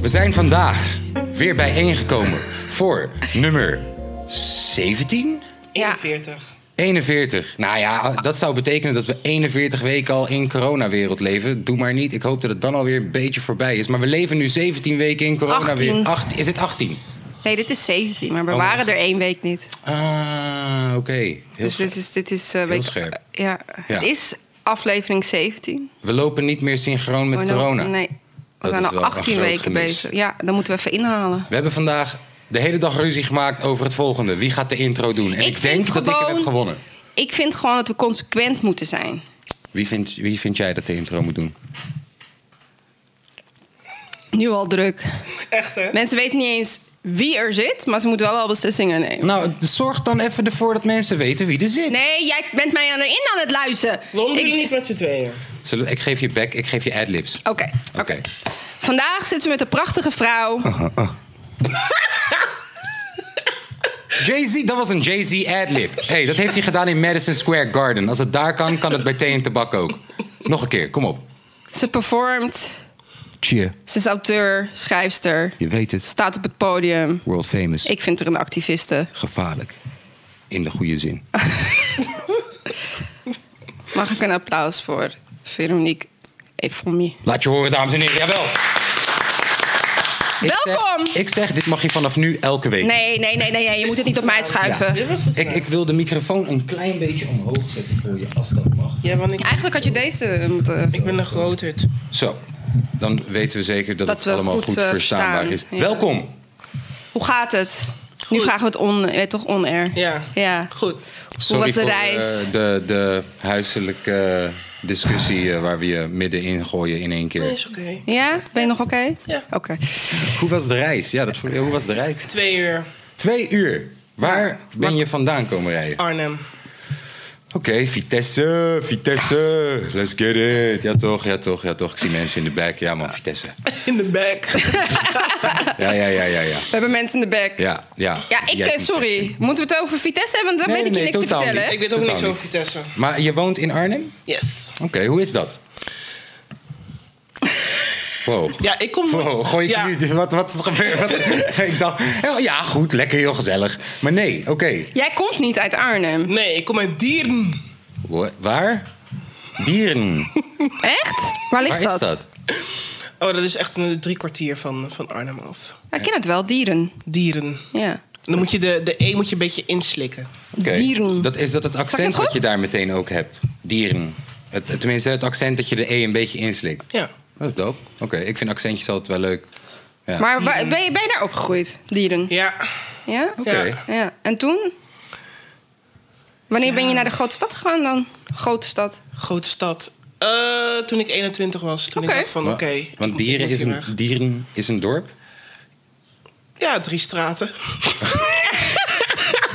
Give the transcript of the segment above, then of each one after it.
We zijn vandaag weer bijeengekomen voor nummer 17? Ja. 41. 41. Nou ja, dat zou betekenen dat we 41 weken al in coronawereld leven. Doe maar niet. Ik hoop dat het dan alweer een beetje voorbij is. Maar we leven nu 17 weken in coronawereld. 18. Acht- is het 18? Nee, dit is 17, maar we Oh, waren wacht. er één week niet. Ah, oké. Heel Dus dit is, dit is eh, week- scherp. Ja. Ja. Het is aflevering 17. We lopen niet meer synchroon met Oh, nou, corona. Nee, we Dat zijn is al wel een 18 groot weken gemis. bezig. Ja, dan moeten we even inhalen. We hebben vandaag de hele dag ruzie gemaakt over het volgende. Wie gaat de intro doen? En ik, Ik denk vind dat ik hem heb gewoon- gewonnen. Ik vind gewoon dat we consequent moeten zijn. Wie vind, wie vind jij dat de intro moet doen? Nu al druk. Echt hè? Mensen weten niet eens wie er zit, maar ze moeten wel al beslissingen nemen. Nou, zorg dan even ervoor dat mensen weten wie er zit. Nee, jij bent mij aan erin aan het luisteren. Waarom doen Ik- jullie niet met z'n tweeën? Zullen- ik geef je back, ik geef je adlibs. Oké, Oké. oké. Vandaag zitten we met een prachtige vrouw. Oh. Ah, Jay-Z, dat was een Jay-Z adlib. hey, dat heeft hij gedaan in Madison Square Garden. Als het daar kan, kan het bij thee en tabak ook. Nog een keer, kom op. Ze performt, Cheer, ze is auteur, schrijfster, je weet het. staat op het podium. World famous. Ik vind er een activiste. Gevaarlijk. In de goede zin. Mag ik een applaus voor Veronique Efomi? Laat je horen, dames en heren. Jawel. Ik zeg- Welkom! ik zeg, dit mag je vanaf nu elke week. Nee, nee, nee, nee, nee, je moet het niet op mij schuiven. Dit was goed. Ik, ik wil de microfoon een klein beetje omhoog zetten voor je, als dat mag. Ja, want ik, Eigenlijk had je deze moeten. ik ben een grootheid. Zo, dan weten we zeker dat, Dat het we allemaal goed, goed, eh, verstaanbaar verstaan. is. Ja. Welkom! Hoe gaat het? Nu vragen we het on, eh, toch on air. Ja. ja. Goed. Sorry was de voor, reis? eh, de, de huiselijke eh, discussie eh, waar we je middenin gooien in één Nee, keer. is oké. Ja? Ben je nog oké? Ja. Oké. Hoe was de reis? Ja, dat, hoe was de reis? Twee uur. Twee uur. Waar ben je vandaan komen rijden? Arnhem. Oké, Vitesse, Vitesse, let's get it. Ja toch, ja toch, ja toch. Ik zie mensen in de back. Ja man, Vitesse. In de back. Ja, ja, ja, ja, ja. We hebben mensen in de back. Ja, ja. Ja, ik, eh, Jij- sorry. Moeten we het over Vitesse hebben? Want daar Nee, weet ik nee, je niks te totaal vertellen. niet. ik weet ook Totaal niks niet. over Vitesse. Maar je woont in Arnhem? Yes. Oké, hoe is dat? Wow. Ja, ik kom... Wow, gooi ik ja. je nu... Wat, wat is gebeurd? Wat- ik dacht, oh ja, goed, lekker, heel gezellig. Maar nee, oké. Jij komt niet uit Arnhem. Nee, ik kom uit Dieren. Wa- Waar? Dieren. Echt? Waar ligt Waar is dat? Oh, dat is echt een drie kwartier van, van Arnhem af. Ja, Ik ken het wel, dieren. Dieren. Ja. Dan moet je de, de E moet je een beetje inslikken. Oké, Dieren. Dat is dat het Zeg ik accent het wat goed? je daar meteen ook hebt. Dieren. Het, tenminste, het accent dat je de E een beetje inslikt. Ja. Dat is dope. Oké, ik vind accentjes altijd wel leuk. Ja. Maar waar- ben, je, ben je daar opgegroeid? Dieren. Ja. Ja? Oké. Ja. Ja, en toen? Wanneer ben je naar de grote stad gegaan dan? Grote stad. Grote stad. Eh, toen ik 21 was. Toen Oké. ik dacht van, Wa- oké. Want dieren ik moet is, hier een, weg. dieren is een dorp? Ja, drie straten.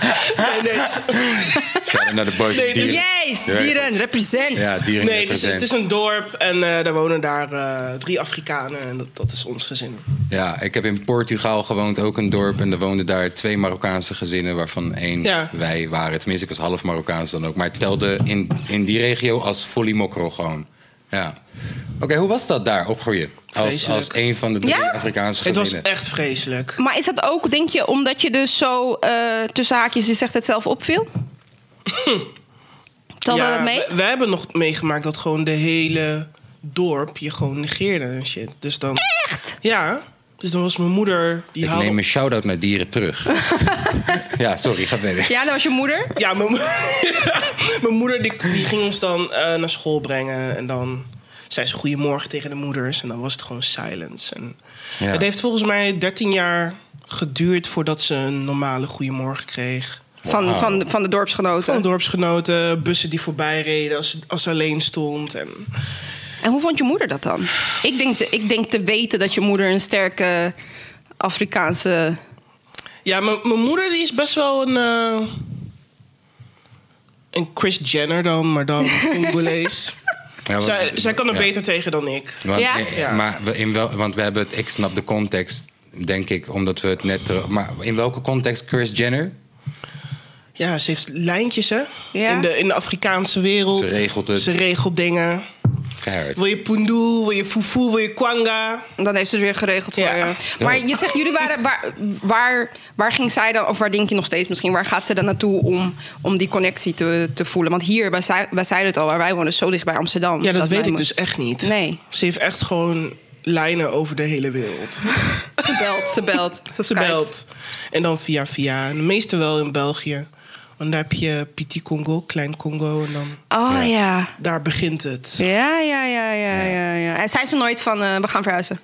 nee, nee. het is- Shout-out naar de boys Nee, van dus- dieren. Yes, Ja, dieren, represent. Ja, dieren Nee, dus het is, represent. het is een dorp en eh, daar wonen daar eh, drie Afrikanen en dat, dat is ons gezin. Ja, ik heb in Portugal gewoond, ook een dorp. En er woonden daar twee Marokkaanse gezinnen, waarvan één Ja. wij waren. Tenminste, ik was half Marokkaans dan ook. Maar het telde in, in die regio als Folly Mokro gewoon. Ja. Oké, hoe was dat daar opgroeien? Als, als Vreselijk. een van de drie Ja? Afrikaanse Het was gezinnen. echt vreselijk. Maar is dat ook, denk je, omdat je dus zo eh, tussen haakjes, je zegt het zelf opviel? Tel je dat mee? we, we hebben nog meegemaakt dat gewoon de hele dorp je gewoon negeerde en shit. Dus dan, Echt? ja, dus dan was mijn moeder die Ik haalde- neem een shout-out naar dieren terug. ja, sorry, ga verder. Ja, dat was je moeder. Ja, mijn, mo- mijn moeder die, die ging ons dan eh, naar school brengen en dan zei ze goedemorgen tegen de moeders en dan was het gewoon silence. En Ja. Het heeft volgens mij 13 jaar geduurd voordat ze een normale goedemorgen kreeg. Van, Wauw. van, van de dorpsgenoten. Van dorpsgenoten, bussen die voorbij reden als, als ze alleen stond. En, En hoe vond je moeder dat dan? Ik denk, te, ik denk te weten dat je moeder een sterke Afrikaanse... ja, mijn mijn moeder die is best wel een. eh, een Chris Jenner dan, maar dan Congolees. Ja, want- zij, zij kan er ja. beter tegen dan ik. Want, Ja? eh, Ja. Maar we in wel, want we hebben het, ik snap de context, denk ik, omdat we het net. terug- Maar in welke context Chris Jenner? Ja, ze heeft lijntjes, hè? Ja. In, de, in de Afrikaanse wereld. Ze regelt het. Ze regelt dingen. Keihard. Wil je pundoe, wil je fufu, wil je kwanga? Dan heeft ze het weer geregeld voor Ja. je. Maar je zegt, jullie waren... Waar, waar, waar ging zij dan... Of waar denk je nog steeds misschien? Waar gaat ze dan naartoe om, om die connectie te, te voelen? Want hier, wij, zei- wij zeiden het al, waar wij wonen... is zo dicht bij Amsterdam. Ja, dat, wij weet ik mo- dus echt niet. Nee. Ze heeft echt gewoon lijnen over de hele wereld. Ze belt, ze belt. Ze Skype. belt. En dan via via. En de meeste wel in België. Want daar heb je Petit Congo, Klein Congo. En dan Oh ja. daar begint het. Ja, ja, ja, ja, ja. ja. En zijn ze nooit van, eh, we gaan verhuizen?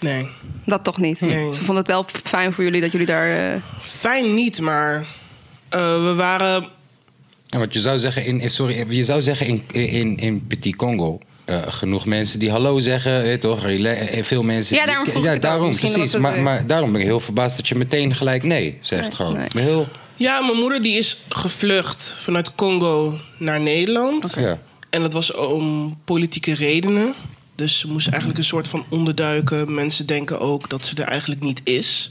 Nee. Dat toch niet? Nee. Ze vonden het wel fijn voor jullie dat jullie daar... eh, Fijn niet, maar eh, we waren... Ja, want je zou zeggen in, in- sorry, je zou zeggen in, in, in Petit Congo. eh, genoeg mensen die hallo zeggen, weet toch? rela- eh, Veel mensen. Ja, die- daarom vroeg ik het ook. daarom, Misschien precies. was het, Maar, eh, maar daarom ben ik heel verbaasd dat je meteen gelijk nee zegt Nee, gewoon. nee. Maar Heel, Ja, mijn moeder die is gevlucht vanuit Congo naar Nederland. ja. En dat was om politieke redenen. Dus ze moest eigenlijk een soort van onderduiken. Mensen denken ook dat ze er eigenlijk niet is.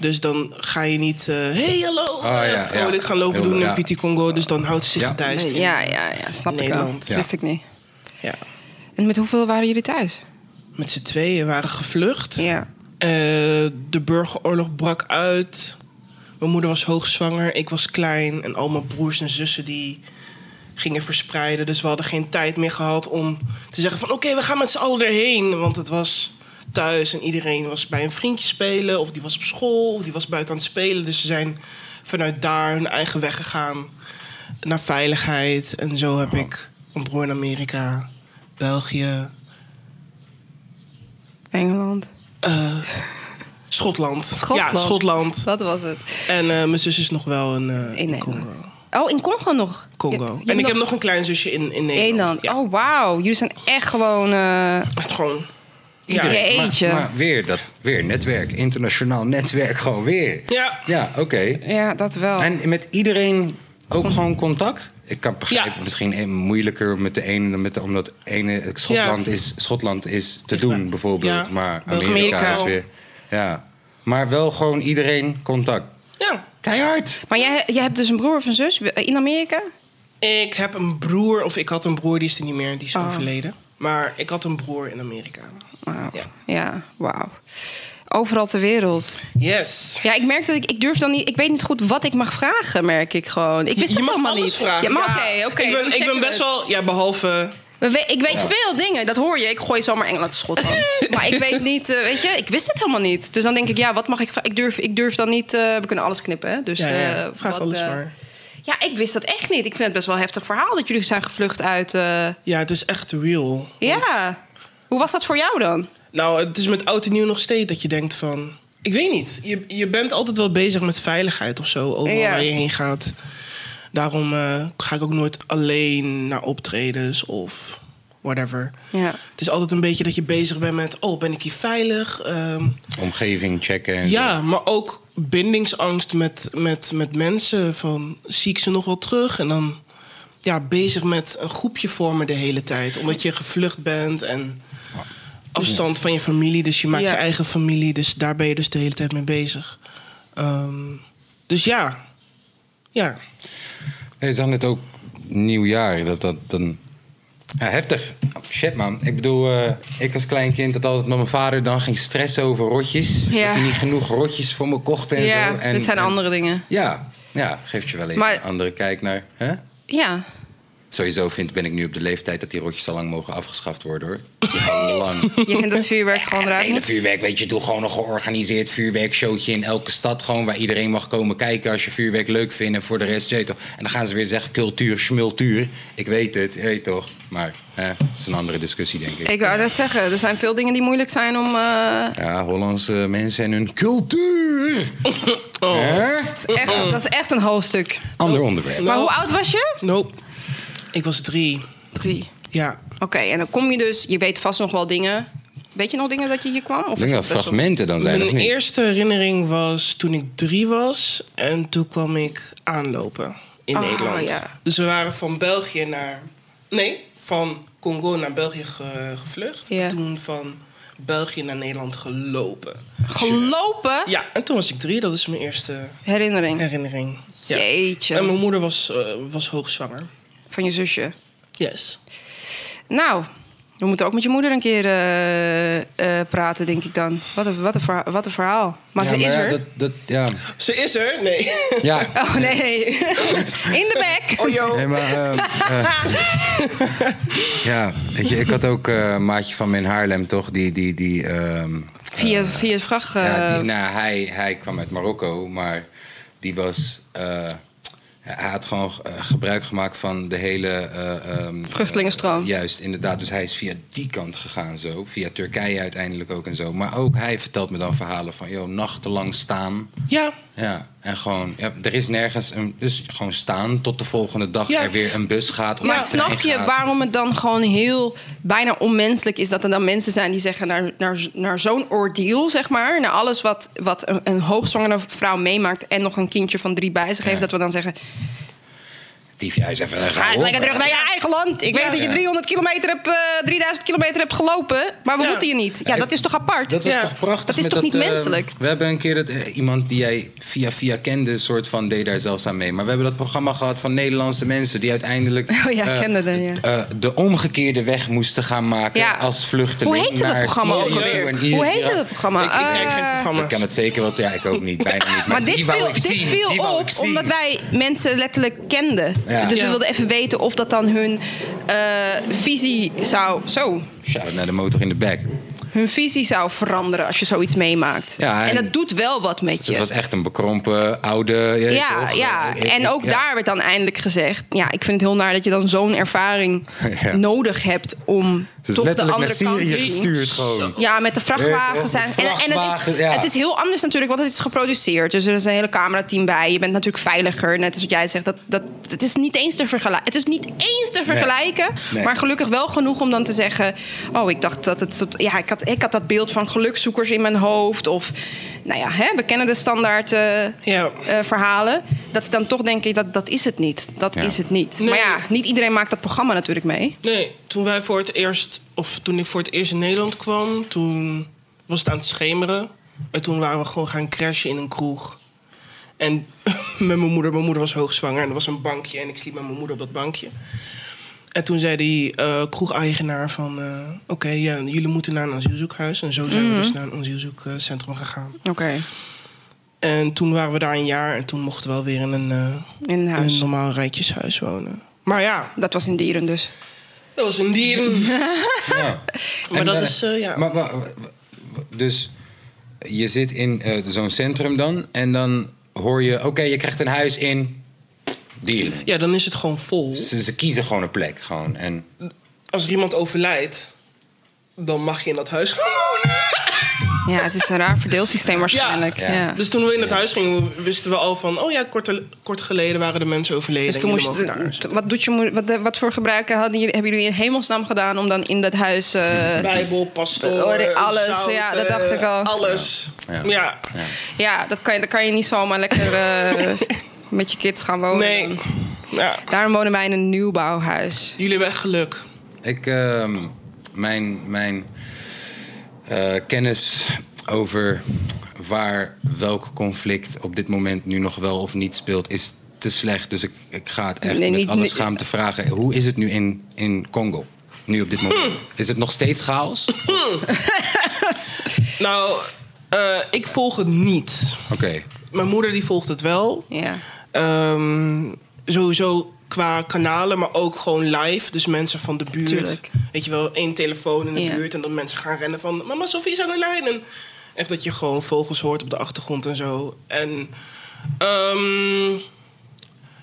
Dus dan ga je niet... eh hey, hallo! ja, eh, Ah, ja. vrolijk gaan lopen Heel- doen ja. in Petit Congo. Dus dan houdt ze zich Ja. gedijst in. Ja, ja, ja, snap ik wel. Nederland, Dat ja. wist ik niet. Ja. En met hoeveel waren jullie thuis? Met z'n tweeën waren gevlucht. Ja. Eh, de burgeroorlog brak uit. Mijn moeder was hoogzwanger, ik was klein. En al mijn broers en zussen die gingen verspreiden. Dus we hadden geen tijd meer gehad om te zeggen van... oké, we gaan met z'n allen erheen. Want het was thuis en iedereen was bij een vriendje spelen... of die was op school, of die was buiten aan het spelen. Dus ze zijn vanuit daar hun eigen weg gegaan naar veiligheid. En zo heb ik een broer in Amerika, België, Engeland. eh, Schotland. Schotland. Ja, Schotland. Dat was het. En eh, mijn zus is nog wel in, eh, in Nederland. Congo. Oh, in Congo nog? Congo. Je- je en ik hebt heb nog een klein zusje in, in Nederland. Nederland. Ja. Oh, wauw. Jullie zijn echt gewoon... eh, Echt gewoon. Ja. Iedereen. Maar- Jeetje. Maar, weer, dat, weer netwerk, internationaal netwerk, gewoon weer. Ja. Ja, oké. ja, dat wel. En met iedereen ook gewoon contact? Ik kan begrijpen, Ja. misschien een- moeilijker met de ene dan met de omdat ene eh, Schotland, Ja. is, Schotland is te Ja. doen bijvoorbeeld, Ja. maar Wel Amerika, Amerika is ook. weer. Ja, maar wel gewoon iedereen contact. ja. Keihard. Maar jij, jij hebt dus een broer of een zus in Amerika? Ik heb een broer, of ik had een broer, die is er niet meer, die is Oh. overleden. Maar ik had een broer in Amerika. Wauw. Ja. Ja, wauw. Overal ter wereld. Yes. Ja, ik merk dat ik, ik durf dan niet... Ik weet niet goed wat ik mag vragen, merk ik gewoon. Ik wist je het mag allemaal alles niet. vragen. Ja, maar oké, oké. Ik dan ben, ik checken ben we best het. wel, ja, behalve. We- we- ik weet veel dingen, dat hoor je. Ik gooi zomaar Engeland en Schotland. maar ik weet niet, eh, weet je, ik wist het helemaal niet. Dus dan denk ik, ja, wat mag ik... vra- Ik durf, ik durf dan niet... eh, we kunnen alles knippen, hè? Dus, Ja, ja, eh, vraag wat, alles eh, maar. Ja, ik wist dat echt niet. Ik vind het best wel een heftig verhaal dat jullie zijn gevlucht uit... eh, Ja, het is echt real. ja. Hoe was dat voor jou dan? Nou, het is met oud en nieuw nog steeds dat je denkt van... Ik weet niet. Je, je bent altijd wel bezig met veiligheid of zo. Overal Ja. waar je heen gaat. Daarom eh, ga ik ook nooit alleen naar optredens of whatever. Ja. Het is altijd een beetje dat je bezig bent met... Oh, ben ik hier veilig? Ehm, Omgeving checken en zo. ja, maar ook bindingsangst met, met, met mensen. Van, zie ik ze nog wel terug? En dan ja, bezig met een groepje vormen de hele tijd. Omdat je gevlucht bent en afstand van je familie. Dus je maakt Ja. je eigen familie. Dus daar ben je dus de hele tijd mee bezig. Ehm, dus ja. Ja. Nee, zijn het ook nieuwjaar? Dat dat dan. Ja, heftig. Oh, Shit, man. Ik bedoel, eh, ik als klein kind had altijd met mijn vader dan ging stressen over rotjes. Ja. Dat hij niet genoeg rotjes voor me kocht en ja, zo. En, dit zijn en- andere dingen. Ja, ja, geeft je wel even Maar- een andere kijk naar. Hè? Ja. Sowieso vind, ben ik nu op de leeftijd dat die rotjes al lang mogen afgeschaft worden hoor. Al lang. Je vindt dat vuurwerk gewoon Het eruit hele moet? vuurwerk, weet je, doe gewoon een georganiseerd vuurwerkshowtje in elke stad. Gewoon waar iedereen mag komen kijken als je vuurwerk leuk vindt. En voor de rest, je weet toch. En dan gaan ze weer zeggen cultuur, smultuur. Ik weet het, je weet toch. Maar hè, het is een andere discussie, denk ik. Ik wou net zeggen, er zijn veel dingen die moeilijk zijn om... eh, Ja, Hollandse mensen en hun cultuur. Oh. Hè? dat, is echt, dat is echt een hoofdstuk. Ander onderwerp. Maar Nou. hoe oud was je? Nope. Ik was drie. Drie. Ja. Oké, en dan kom je dus, je weet vast nog wel dingen. Weet je nog dingen dat je hier kwam? Of Ik denk is dat het best wel- fragmenten dan zijn, of Mijn niet? eerste herinnering was toen ik drie was. En toen kwam ik aanlopen in Ah, Nederland. ja. Dus we waren van België naar... Nee, van Congo naar België ge- gevlucht. Ja. Toen van België naar Nederland gelopen. Gelopen Ja, en toen was ik drie. Dat is mijn eerste herinnering. herinnering. Ja. Jeetje. En mijn moeder was, eh was hoogzwanger. Van je zusje. Yes. Nou, We moeten ook met je moeder een keer eh, eh, praten, denk ik dan. Wat een, wat een, verha- wat een verhaal. Maar Ja, ze is ja, er. Dat, dat, ja. Ze is er? Nee. ja. Oh nee, nee. In de bek. Oh, yo. Nee, maar, ehm, eh, ja, weet je, ik had ook eh, een maatje van me in Haarlem, toch? Die, die, die, ehm, Via, via het vracht. eh, ja, die, nou, hij, hij kwam uit Marokko, maar die was. eh, hij had gewoon eh, gebruik gemaakt van de hele. eh, ehm, Vluchtelingenstroom. eh, juist, inderdaad. Dus hij is via die kant gegaan zo. Via Turkije uiteindelijk ook en zo. Maar ook hij vertelt me dan verhalen van. joh, nachtenlang staan. Ja, Ja, en gewoon. Ja, er is nergens. Een, dus gewoon staan tot de volgende dag Ja. er weer een bus gaat. Of Maar een trein snap je gaat. waarom het dan gewoon heel bijna onmenselijk is dat er dan mensen zijn die zeggen naar, naar, naar zo'n oordeel, zeg maar, naar alles wat, wat een, een hoogzwangere vrouw meemaakt en nog een kindje van drie bij zich heeft, Ja. dat we dan zeggen: Dief, jij is even. Ga eens lekker terug naar je eigen land. Ik weet dat je Ja. 300 kilometer hebt, eh, 3000 kilometer hebt gelopen, maar we Ja. moeten je niet. Ja, dat is toch apart? Dat is Ja. toch prachtig? Dat is met toch niet eh, menselijk? we hebben een keer dat eh, iemand die jij via via kende, soort van deed daar zelfs aan mee. Maar we hebben dat programma gehad van Nederlandse mensen die uiteindelijk Oh ja, eh, kende dat, ja. eh, de omgekeerde weg moesten gaan maken Ja. als vluchteling. Hoe heette dat naar programma ook Syrië alweer? en hier- Hoe heette ja. dat programma? Ik, ik, ik kijk Eh, geen ik programma's. kan het zeker wel. Ja, ik ook niet. Bijna niet. Maar, Maar dit die wou viel, ik dit zien, viel die wou op ik zien. omdat wij mensen letterlijk kenden. Ja. Dus Ja. we wilden even weten of dat dan hun eh, visie zou... Zo, Shout naar de motor in de bek. hun visie zou veranderen als je zoiets meemaakt. Ja, en, en- dat doet wel wat met Dus je. het was echt een bekrompen oude. je weet ja, toch, ja. eh, ik- en ik- ook ja. daar werd dan eindelijk gezegd... ja, ik vind het heel naar dat je dan zo'n ervaring Ja. nodig hebt... om Ze is toch de letterlijk andere naar kant Syrië te zien. gestuurd gewoon. Ja, met de Weet je, vrachtwagens. de En, en, en het, vrachtwagen, is, ja. het is heel anders natuurlijk, want het is geproduceerd. Dus er is een hele camerateam bij. Je bent natuurlijk veiliger, net als wat jij zegt. Dat, dat, het is niet eens te vergelijken. Het is niet eens te vergelijken, Nee. maar gelukkig wel genoeg om dan te zeggen... oh, ik dacht dat het... tot- ja, ik had, ik had dat beeld van gelukzoekers in mijn hoofd. Of, nou ja, hè, we kennen de standaard eh, Ja. eh, verhalen. Dat ze dan toch denken, dat, dat is het niet. Dat Ja. is het niet. Nee. Maar ja, niet iedereen maakt dat programma natuurlijk mee. Nee, toen wij voor het eerst, of toen ik voor het eerst in Nederland kwam, toen was het aan het schemeren. En toen waren we gewoon gaan crashen in een kroeg. En met mijn moeder, mijn moeder was hoogzwanger en er was een bankje en ik sliep met mijn moeder op dat bankje. En toen zei die eh, kroegeigenaar van, eh, oké, ja, jullie moeten naar een asielzoekhuis. En zo zijn we dus naar een asielzoekcentrum gegaan. Oké, En toen waren we daar een jaar en toen mochten we alweer in een, eh, in in een huis. normaal rijtjeshuis wonen. Maar ja, Dat was in dieren dus. dat was een dieren. Ja. Maar En, dat eh, is, eh, ja. Maar, wa- wa- wa- dus je zit in eh, zo'n centrum dan en dan hoor je, oké, je krijgt een huis in Dieren. Ja, dan is het gewoon vol. Ze, ze kiezen gewoon een plek gewoon. En, Als er iemand overlijdt, dan mag je in dat huis gaan wonen. Ja, het is een raar verdeelsysteem waarschijnlijk. Ja, Ja, ja. Dus, Dus toen we in dat huis gingen, wisten we al van... oh ja, kort, kort geleden waren de mensen overleden. Dus toen en moest jullie mogen naar huis. je, wat, doet je, moeder- wat, wat voor gebruiken hadden jullie, hebben jullie in hemelsnaam gedaan om dan in dat huis. eh, Bijbel, pastoor, Orde- alles, ja, dat dacht ik al. Alles. Ja. Ja. ja, dat kan, je, dat kan je niet zomaar lekker eh, met je kids gaan wonen. Nee. dan. Ja. Daarom wonen wij in een nieuwbouwhuis. Jullie hebben echt geluk. Ik, ehm, mijn mijn eh, kennis over waar welk conflict op dit moment nu nog wel of niet speelt, is te slecht. Dus ik, ik ga het echt Nee, met niet- alle niet- schaamte vragen. Hoe is het nu in, in Congo? Nu op dit Hm. moment. Is het nog steeds chaos? Oké. Nou, eh, ik volg het niet. Mijn moeder die volgt het wel. Ja. Ehm, sowieso qua kanalen, maar ook gewoon live. Dus mensen van de buurt. Tuurlijk. Weet je wel, één telefoon in de Ja. buurt. En dat mensen gaan rennen van... Mama, Sofie is aan de lijn. En echt dat je gewoon vogels hoort op de achtergrond en zo. En ehm,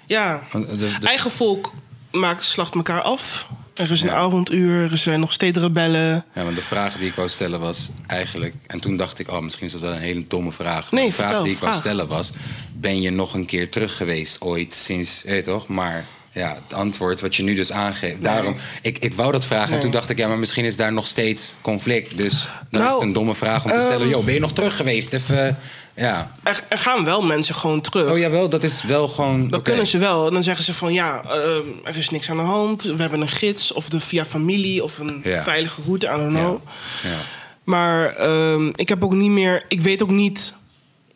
ja, Want, eh, de- de- eigen volk maakt, slacht elkaar af. Er is een Ja. avonduur, er zijn nog steeds rebellen. Ja, want de vraag die ik wou stellen was eigenlijk... En toen dacht ik, oh, misschien is dat wel een hele domme vraag. Nee, de vraag vertel, die ik wou vraag. stellen was... Ben je nog een keer terug geweest ooit sinds... Weet je toch? Maar ja, het antwoord wat je nu dus aangeeft... Daarom, ik, ik wou dat vragen en toen dacht ik... Ja, maar misschien is daar nog steeds conflict. Dus dan is Nou, het een domme vraag om te stellen. ehm, Yo, ben je nog terug geweest? Even, eh, ja. Er, er gaan wel mensen gewoon terug. Oh, jawel, dat is wel gewoon... Dan oké. kunnen ze wel. En dan zeggen ze van ja, ehm, er is niks aan de hand. We hebben een gids of de via familie of een Ja. veilige route, I don't Ja. know. Ja. Maar ehm, ik heb ook niet meer, ik weet ook niet,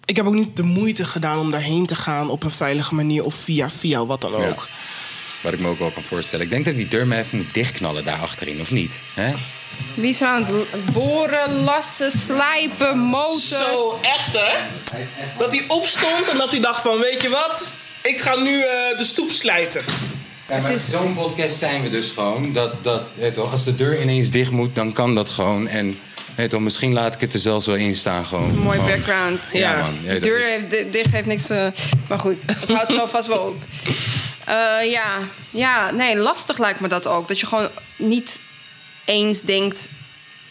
ik heb ook niet de moeite gedaan om daarheen te gaan op een veilige manier of via via wat dan Ja. ook. Wat ik me ook wel kan voorstellen. Ik denk dat die deur maar even moet dichtknallen daar achterin, of niet? Hè? Wie is er aan het l- boren, lassen, slijpen, moten? Zo echt hè? Dat hij opstond en dat hij dacht van, weet je wat? Ik ga nu eh, de stoep slijten. Ja, maar Het is- Zo'n podcast zijn we dus gewoon. Dat, dat, weet je wel, als de deur ineens dicht moet, dan kan dat gewoon. En weet je wel, misschien laat ik het er zelfs wel in staan. Gewoon. Dat is een mooie Gewoon. background. Ja, Ja. man. Ja, De dat deur is- heeft, di- dicht heeft niks. eh, maar goed, ik houd het zo vast wel op. Eh, ja. ja, nee, lastig lijkt me dat ook. Dat je gewoon niet eens denkt.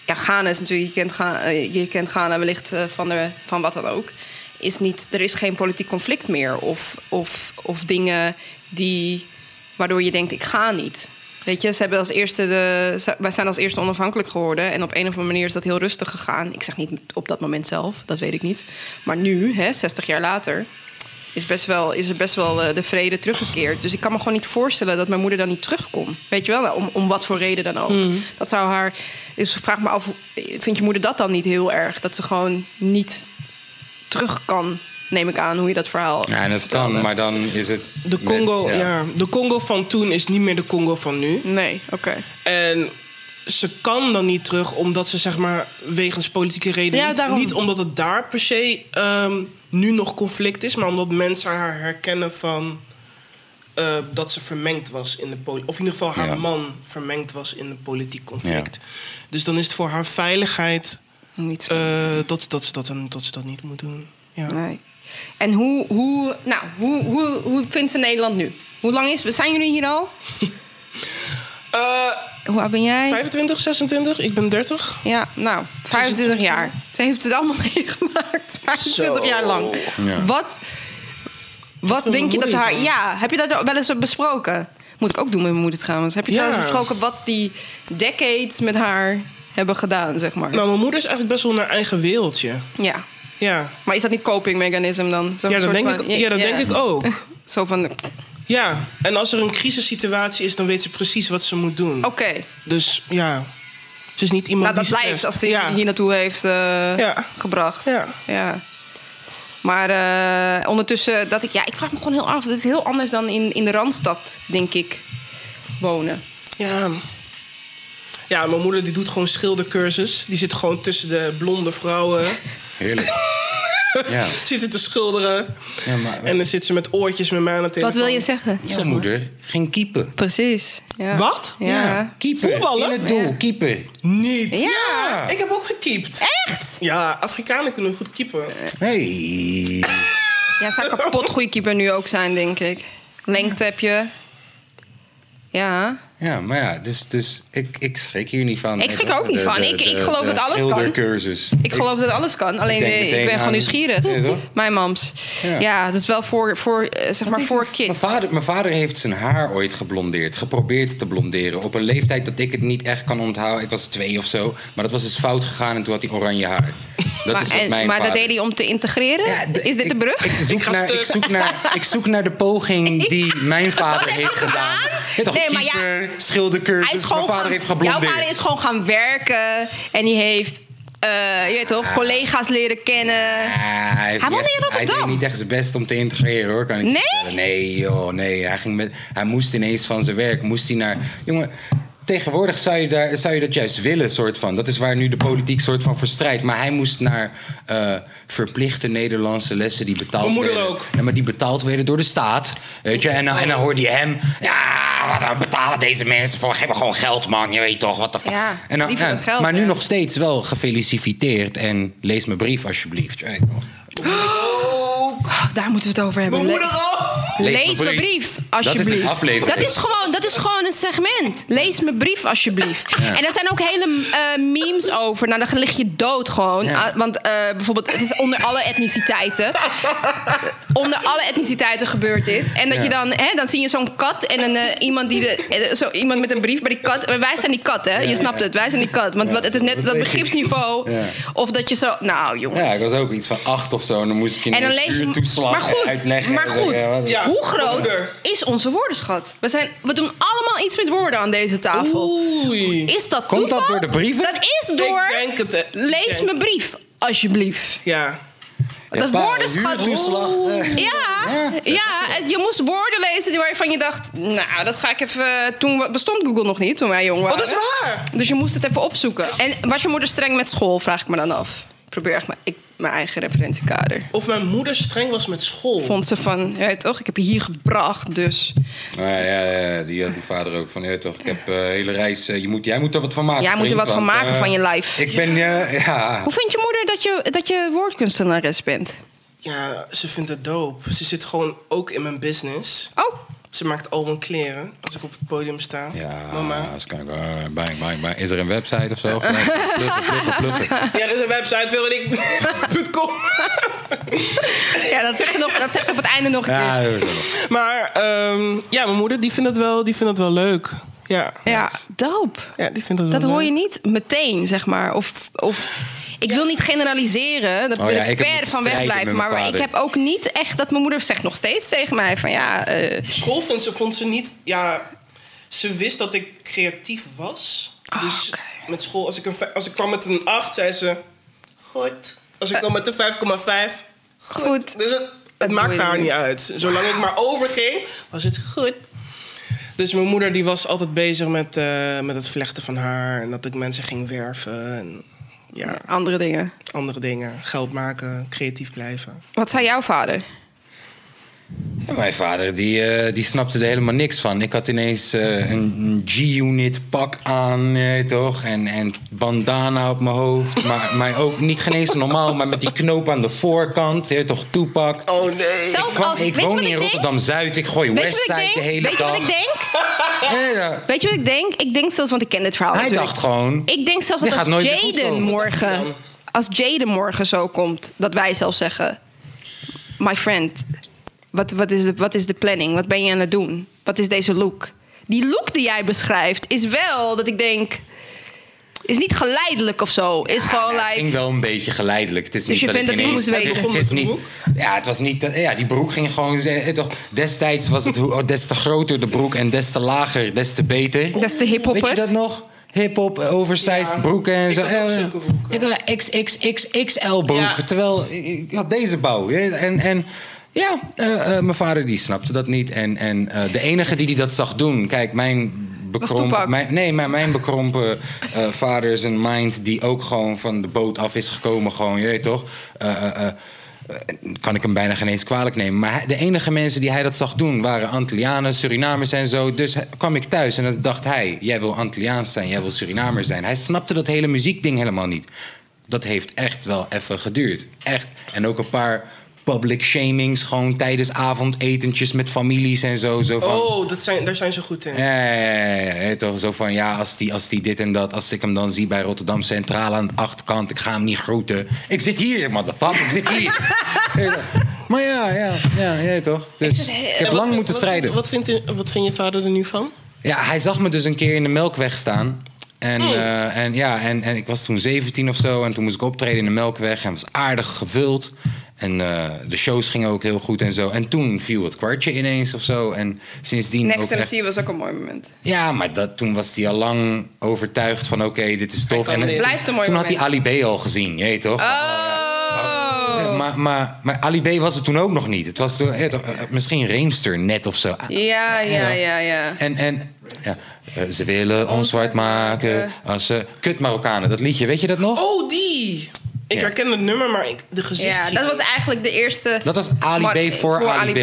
Ja, Ghana is natuurlijk. Je kent Ghana, eh, je kent Ghana wellicht eh, van, de, van wat dan ook. Is niet, er is geen politiek conflict meer. Of, of, of dingen die, waardoor je denkt: ik ga niet. Weet je, ze hebben als eerste de, ze- wij zijn als eerste onafhankelijk geworden. En op een of andere manier is dat heel rustig gegaan. Ik zeg niet op dat moment zelf, dat weet ik niet. Maar nu, hè, 60 jaar later, is, best wel, is er best wel eh, de vrede teruggekeerd. Dus ik kan me gewoon niet voorstellen dat mijn moeder dan niet terugkomt. Weet je wel, om, om wat voor reden dan ook. Dat zou haar. Dus vraag me af, vindt je moeder dat dan niet heel erg? Dat ze gewoon niet terug kan, neem ik aan, hoe je dat verhaal. Ja, en het kan, maar dan is het... De Congo, Ja. ja. de Congo van toen is niet meer de Congo van nu. Nee, oké. En ze kan dan niet terug omdat ze, zeg maar, wegens politieke redenen... Ja, niet, daarom. niet omdat het daar per se ehm, nu nog conflict is... maar omdat mensen haar herkennen van eh, dat ze vermengd was in de politiek... of in ieder geval haar Ja. man vermengd was in een politiek conflict. Dus dan is het voor haar veiligheid Niet zo. eh, dat, dat, ze dat, dat ze dat niet moet doen. Ja. Nee. En hoe, hoe, nou, hoe, hoe, hoe vindt ze Nederland nu? Hoe lang is Zijn jullie hier al? Eh, Hoe oud ben jij? 25, 26, ik ben 30. Ja, nou, 25 jaar. Ze heeft het allemaal meegemaakt. 25 Zo. jaar lang. Ja. Wat, wat vond denk je mijn moeder dat haar... hiervan? Ja, heb je dat wel eens besproken? Moet ik ook doen met mijn moeder trouwens. Heb je Ja. trouwens besproken wat die decades met haar hebben gedaan, zeg maar? Nou, mijn moeder is eigenlijk best wel een eigen wereldje. Ja. Ja, Maar is dat niet coping mechanism dan? Zo'n ja dat, soort denk, van- ik, ja, dat denk ik oh. ook. Zo van, oké. Ja, en als er een crisissituatie is, dan weet ze precies wat ze moet doen. Dus ja, ze is niet Oh. Nou, iemand dat die lijkt stresst. als ze ja. hier naartoe heeft eh, Ja. gebracht. Ja. Ja. Maar eh, ondertussen, dat ik, ja, ik vraag me gewoon heel af. Het is heel anders dan in, in de Randstad, denk ik, wonen. Ja. Ja, mijn moeder die doet gewoon schildercursus. Die zit gewoon tussen de blonde vrouwen. Heerlijk. ja. zit ze te schilderen. ja, maar... En dan zit ze met oortjes met mij aan de Wat telefoon. wil je zeggen? Jouw moeder ging keepen. Precies. Ja. Wat? Ja. Keeper. Voetballen? In het doel, keeper. Niet. Ja. Ik heb ook gekiept. Echt? Eh. Ja, Afrikanen kunnen goed keepen. Hey. Ja, zou kapot goede keeper nu ook zijn, denk ik. Lengte heb je. Ja. Ja, maar ja, dus, dus ik, ik schrik hier niet van. Ik schrik er ook niet van. Ik- ik geloof dat alles kan. schildercursus. Ik geloof dat alles kan. Alleen denk nee, meteen ik ben aan- gewoon nieuwsgierig. Ja, toch? Mijn mams. Ja. Ja. dat is wel voor, voor eh, zeg maar, voor Mijn kids. vader, mijn vader heeft zijn haar ooit geblondeerd. Geprobeerd te blonderen. Op een leeftijd dat ik het niet echt kan onthouden. Ik was twee of zo. Maar dat was dus fout gegaan en toen had hij oranje haar. Dat maar is wat en- mijn maar dat vader- deed hij om te integreren? Ja, d- is dit de ik- brug? Ik, zoek Ik ga naar, stuk. ik, zoek naar, ik zoek naar de poging die mijn vader heeft heeft hij gedaan. gedaan? Ja, toch, Nee, maar ja, keeper, schildercursus. Hij is gewoon dus mijn vader gaan- heeft geblondeerd. Jouw vader is gewoon gaan werken en die heeft, eh, je weet toch, collega's leren kennen. Ah, hij heeft Hij niet woonde echt- in Rotterdam. Hij deed niet echt zijn best om te integreren, hoor. Kan ik je Nee? vertellen. Nee, joh, nee. Hij, ging met, hij moest ineens van zijn werk, moest hij naar... Jongen, tegenwoordig zou je, daar, zou je dat juist willen, soort van. Dat is waar nu de politiek soort van voor strijdt. Maar hij moest naar eh, verplichte Nederlandse lessen die betaald Mijn moeder werden. ook. Nee, maar die betaald werden door de staat, weet je. En, dan- en dan hoorde je hem... Ja, wat betalen deze mensen voor? Geef me gewoon geld, man. Je weet toch, wat de fuck. Ja, en dan, liever dat geld, maar nu hè. nog steeds wel gefeliciteerd. En lees mijn brief, alsjeblieft. Ja, ik wel. Oh, daar moeten we het over hebben. Mijn moeder oh, Le- ook! Lees Lees mijn mijn brief, Dat alsjeblieft. is een aflevering. Dat is gewoon, dat is gewoon een segment. Lees mijn brief, alsjeblieft. En er zijn ook hele eh, memes over. Nou, dan lig je dood gewoon. Ja. Ah, want eh, bijvoorbeeld, het is onder alle etniciteiten. onder alle etniciteiten gebeurt dit. En dat Ja. je dan, hè, dan zie je zo'n kat en een, eh, iemand, die de, eh, zo, iemand met een brief bij die kat. Maar wij zijn die kat, hè? Je snapt het, wij zijn die kat. Want Ja, wat, het is net dat dat weet ik. begripsniveau. Ja. Of dat je zo... Nou, jongens. Ja, ik was ook iets van acht of zo. En dan moest ik in En dan een lees uur je. toeslag Maar goed, en uitleggen. maar En dan- goed ja, wat- Ja. hoe groot moeder. is onze woordenschat? We, zijn, we doen allemaal iets met woorden aan deze tafel. Oei. Is dat Komt dat toeval? door de brieven? Dat is door. Ik denk het. eh, ik Lees denk- mijn brief, alsjeblieft. Ja. Dat Japan, woordenschat. huurtoeslag, eh. Ja, Ja. ja, het- je moest woorden lezen waarvan je dacht, nou, dat ga ik even. Toen bestond Google nog niet, toen wij jong waren. Oh, dat is waar! Dus je moest het even opzoeken. En was je moeder streng met school, vraag ik me dan af. Ik probeer echt mijn, ik, mijn eigen referentiekader. Of mijn moeder streng was met school. Vond ze van, ja, toch, ik heb je hier gebracht, dus Ja, Ah, ja, ja, die had mijn vader ook van, ja, toch, ik heb eh hele reis, eh, je moet, jij moet er wat van maken. jij moet er vriend, wat van want, maken eh, van je life. Ik ben, eh, ja, Hoe vindt je moeder dat je, dat je woordkunstenares bent? Ja, ze vindt het dope. Ze zit gewoon ook in mijn business. Oh, Ze maakt al mijn kleren als ik op het podium sta. ja, Mama. dus kan ik, eh, bang, bang, bang. Is er een website of zo? Gelijk, Pluffen, pluffen, pluffen. Ja, er is een website, wilrenik.com. ja, dat zegt ze, nog, dat zegt ze op het einde nog een keer. Ja, dat is wel. maar ehm, ja, mijn moeder die vindt het wel, die vindt het wel leuk. Ja. Ja, dope. ja, die vindt het Dat wel hoor leuk. je niet meteen, zeg maar. Of, of ik wil niet generaliseren, daar Oh wil ja, ik ik heb ver moeten van weg strijden blijven. met mijn Maar ik vader. heb ook niet echt dat mijn moeder zegt nog steeds tegen mij van ja, eh, School vindt ze, vond ze niet... Ja, ze wist dat ik creatief was. Ah, dus oké. met school, als ik, een, vij- als ik kwam met een 8, zei ze... Goed. Als ik Eh. kwam met een 5,5... goed. Dus het, het boeit maakte me haar niet. niet uit. Zolang ik maar overging, was het goed. Dus mijn moeder die was altijd bezig met, eh, met het vlechten van haar. En dat ik mensen ging werven. En ja, Andere dingen. andere dingen. Geld maken, creatief blijven. Wat zei jouw vader? Ja, Mijn vader, die, eh, die snapte er helemaal niks van. Ik had ineens eh, een, een G-unit pak aan, eh, toch? En, en bandana op mijn hoofd. Maar, maar ook niet geen eens normaal, maar met die knoop aan de voorkant. eh, toch, toepak. Oh nee. Zelfs Kwam- als ik weet je woon wat hier ik in denk? Rotterdam-Zuid. Ik gooi Weet je Westside wat de ik denk? hele Weet je dag. wat ik denk? Ja, ja. Weet je wat ik denk? Ik denk zelfs, want ik ken dit verhaal. Hij natuurlijk. dacht gewoon... Ik denk zelfs Dit dat gaat nooit als meer goed Jaden komen. morgen, als Jaden morgen zo komt, dat wij zelf zeggen, my friend, wat, wat, is de, wat is de planning? Wat ben je aan het doen? Wat is deze look? Die look die jij beschrijft is wel dat ik denk, is niet geleidelijk of zo. Is gewoon Ja, het like, ging wel een beetje geleidelijk. Het is Dus niet je dat vindt ik dat die ineens- moest weten? Het is- het is niet, ja, het was niet. dat- Ja, die broek ging gewoon. eh, toch, destijds was het hoe, oh, des te groter de broek en des te lager, des te beter. Des te hiphopper. Weet je dat nog? Hip-hop, eh, oversized Ja, broeken en ik zo. had ook Eh, zulke broeken. Ik had XXXXL broeken. Ja. Terwijl ik, ik had deze bouw. eh, En, en ja, eh, eh, mijn vader die snapte dat niet. En, en eh, de enige die die dat zag doen. Kijk, mijn. Tupac. Bekrompen, mijn, nee, maar mijn bekrompen eh, vader is een mind die ook gewoon van de boot af is gekomen. Gewoon, je weet toch? Eh, eh, eh, kan ik hem bijna geen eens kwalijk nemen. Maar hij- de enige mensen die hij dat zag doen waren Antillianen, Surinamers en zo. Dus hij- kwam ik thuis en dan dacht hij: jij wil Antilliaans zijn, jij wil Surinamer zijn. Hij snapte dat hele muziekding helemaal niet. Dat heeft echt wel even geduurd. Echt. En ook een paar public shamings, gewoon tijdens avondetentjes met families en zo. zo van, Oh, dat zijn, daar zijn ze goed in. ja, ja, ja, ja, ja, ja, toch? Zo van ja, als die, als die dit en dat, als ik hem dan zie bij Rotterdam Centraal aan de achterkant, ik ga hem niet groeten. Ik zit hier, motherfucker, ik zit hier. Ja, maar ja, ja, ja, ja, toch? Dus ik En heb wat lang vind- moeten wat strijden. Vind, wat, vindt, u- wat vindt je vader er nu van? Ja, hij zag me dus een keer in de melkweg staan. En, Oh. eh, en ja, en, en ik was toen 17 of zo. En toen moest ik optreden in de melkweg. En het was aardig gevuld. En eh, de shows gingen ook heel goed en zo. En toen viel het kwartje ineens of zo. En sindsdien. Next ook MC echt- was ook een mooi moment. ja, maar dat, toen was hij al lang overtuigd van oké, dit is tof. kan En, dit. Blijft een mooi Toen had hij moment. Ali B al gezien, je weet toch? Oh! Maar, maar, maar Ali B was het toen ook nog niet. Het was toen, eh, toch, eh, misschien Reemster net of zo. Ja, ja, ja, ja. En, en ja, eh, ze willen ons zwart maken als ze... Kut Marokkanen, dat liedje, weet je dat nog? Oh, die! Ik Ja. herken het nummer, maar ik, de gezicht Ja, zie dat ik was eigenlijk de eerste... Dat was Ali Mark- B voor, Ali B. ja.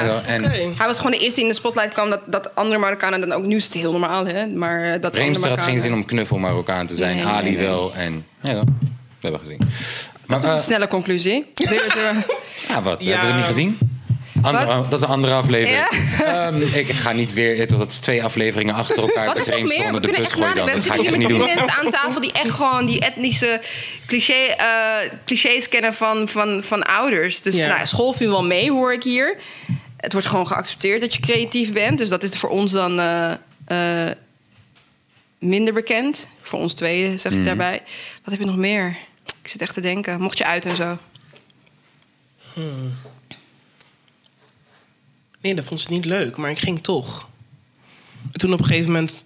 En, zo, en Oké. Hij was gewoon de eerste die in de spotlight kwam. Dat, dat andere Marokkanen dan ook... Nu is het heel normaal, hè? Maar eh, dat Reemster had andere geen Marokkanen- zin om knuffel Marokkaan te zijn. Nee, nee, Ali nee. wel en... Ja, dat hebben we gezien. Maar, Dat is eh, een snelle conclusie. Dus, eh, Zeer- zeer- Ja, wat? Ja. Hebben we het niet gezien? Andere- Wat? oh, dat is een andere aflevering. Ehm, ik ga niet weer... eh, Dat is twee afleveringen achter elkaar. Wat dat is nog Reemster meer? We onder de kunnen bus echt na gooien de dan. Dat ga wedstrijd ik echt hier niet met doen. mensen aan tafel... die echt gewoon die etnische cliché, eh, clichés kennen van, van, van ouders. Dus Ja. nou, school viel wel mee, hoor ik hier. Het wordt gewoon geaccepteerd dat je creatief bent. Dus dat is voor ons dan eh, eh, minder bekend. Voor ons tweeën, Mm. zeg ik daarbij. Wat heb je nog meer? Ik zit echt te denken. Mocht je uit en zo. Nee, dat vond ze niet leuk, maar ik ging toch. Toen op een gegeven moment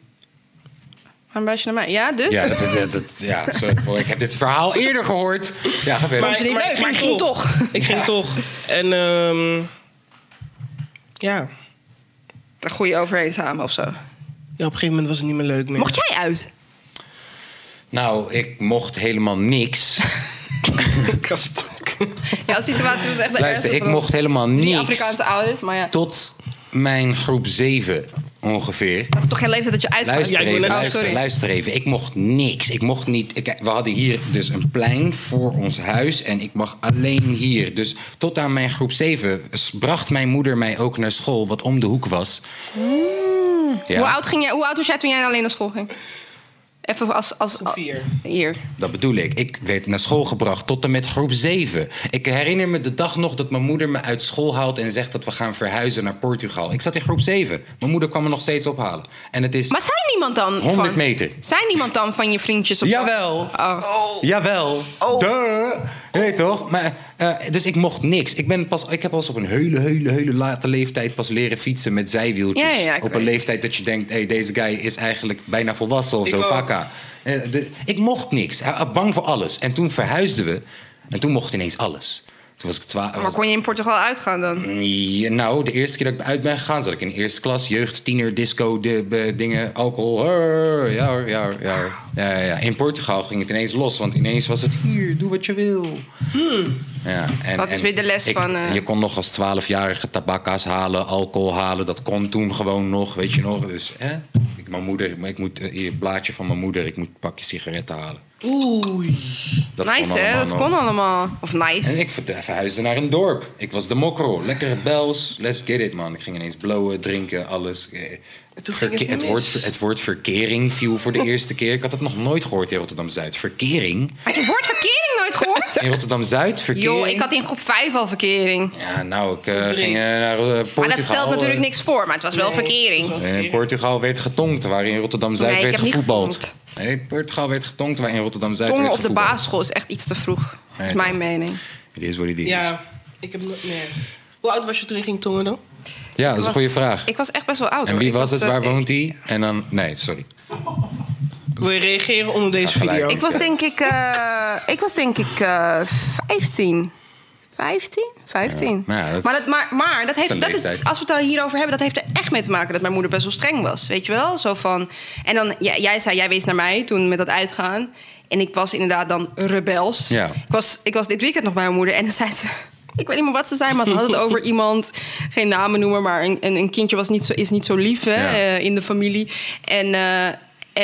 Waarom wijs je naar mij? Ja, dus? Ja, dat, eh, dat, dat- ja sorry voor, ik heb dit verhaal eerder gehoord. Ja, ga verder. Vond ze niet Maar- leuk, maar maar ik ik ging toch. toch. Ik ging toch. En ehm, ja. Daar groei je overheen samen of zo. ja, op een gegeven moment was het niet meer leuk meer. Mocht jij uit? Nou, ik mocht helemaal niks. je kast? Ja, de situatie was echt Luister, de ergste ik van mocht helemaal Die niks Afrikaanse ouders, maar ja. tot mijn groep 7 ongeveer. Dat is toch geen leeftijd dat je uitgaat? Luister Ja, ik wil even, net- luister, Oh, sorry. luister even. Ik mocht niks. Ik mocht niet. ik- we hadden hier dus een plein voor ons huis en ik mag alleen hier. Dus tot aan mijn groep 7 bracht mijn moeder mij ook naar school, wat om de hoek was. Mm. Ja, Hoe, oud ging jij, hoe oud was jij toen jij alleen naar school ging? Even als... als Groep vier. Hier. Dat bedoel ik. Ik werd naar school gebracht tot en met groep 7. Ik herinner me de dag nog dat mijn moeder me uit school haalt en zegt dat we gaan verhuizen naar Portugal. Ik zat in groep 7. Mijn moeder kwam me nog steeds ophalen. En het is. Maar zijn niemand dan 100 van... meter. Zijn niemand dan van je vriendjes of zo? Jawel. Oh. Jawel. Duh. Nee, toch? Maar, eh, dus ik mocht niks. Ik, ben pas, ik heb pas op een hele, hele, hele late leeftijd pas leren fietsen met zijwieltjes. Ja, ja, ja, ik op een weet. leeftijd dat je denkt, hey, deze guy is eigenlijk bijna volwassen of Ik zo. ook. Vakka. Eh, de- ik mocht niks. Hij- hij bang voor alles. En toen verhuisden we. En toen mocht ineens alles. Toen was ik twaalf. Maar kon je in Portugal uitgaan dan? Ja, nou, de eerste keer dat ik uit ben gegaan, zat ik in de eerste klas. Jeugd, tiener, disco, de, be- dingen, alcohol. Hoor, ja, hoor, ja, hoor, ja, hoor. Ja, ja, ja. In Portugal ging het ineens los, want ineens was het hier, doe wat je wil. Ja, en, Dat Hmm. is en weer de les ik- van, eh, Je kon nog als 12-jarige tabakka's halen, alcohol halen. Dat kon toen gewoon nog, weet je nog. Dus, hè? Ik, mijn moeder, maar ik moet eh, hier, het blaadje van mijn moeder, ik moet een pakje sigaretten halen. Oei. Dat kon nice, hè? allemaal nog. Dat kon allemaal. Of nice. En ik verd- verhuisde naar een dorp. Ik was de mokro. Lekkere bels. Let's get it, man. Ik ging ineens blowen, drinken, alles. Eh, toen ging het Verke- het, mis. woord, ver- het woord verkering viel voor de eerste keer. Ik had het nog nooit gehoord in Rotterdam-Zuid. Verkering? Had je het woord verkering nooit gehoord? In Rotterdam-Zuid? Verkering? Joh, ik had in groep 5 al verkering. Ja, nou, ik eh, Drink. ging eh, naar eh, Portugal. Maar dat stelt natuurlijk eh, niks voor, maar het was wel Nee. verkering. eh, In Portugal werd getongd, waar in Rotterdam-Zuid Nee, ik werd heb niet gevoetbald. getongd. Nee, Portugal werd getongd, waar in Rotterdam-Zuid werd Tongen op gevoetbald. de basisschool is echt iets te vroeg. Dat is Nee, mijn mening. Dit is wat het is. Ja, Ja, ik heb nooit meer. Hoe oud was je toen je ging tongen dan? dat is een Ik goede was- vraag. Ik was echt best wel oud. En hoor. wie Ik was het? eh, Waar ik- woont hij? En dan... Nee, sorry. Wil je reageren onder deze gelijk. video? Ik was denk ik, eh, ik was denk ik eh 15. 15? 15. Ja, maar ja, dat- maar, dat, maar, maar dat Zijn heeft, dat is, leeftijd. als we het al hierover hebben, dat heeft er echt mee te maken dat mijn moeder best wel streng was. Weet je wel? Zo van. En dan, jij, jij zei, jij wees naar mij toen met dat uitgaan. En ik was inderdaad dan rebels. Ja. Ik, was, ik was dit weekend nog bij mijn moeder en dan zei ze. Ik weet niet meer wat ze zei, maar ze had het over iemand. Geen namen noemen, maar een, een, een kindje was niet zo, is niet zo lief hè, Ja. eh, in de familie. En, eh,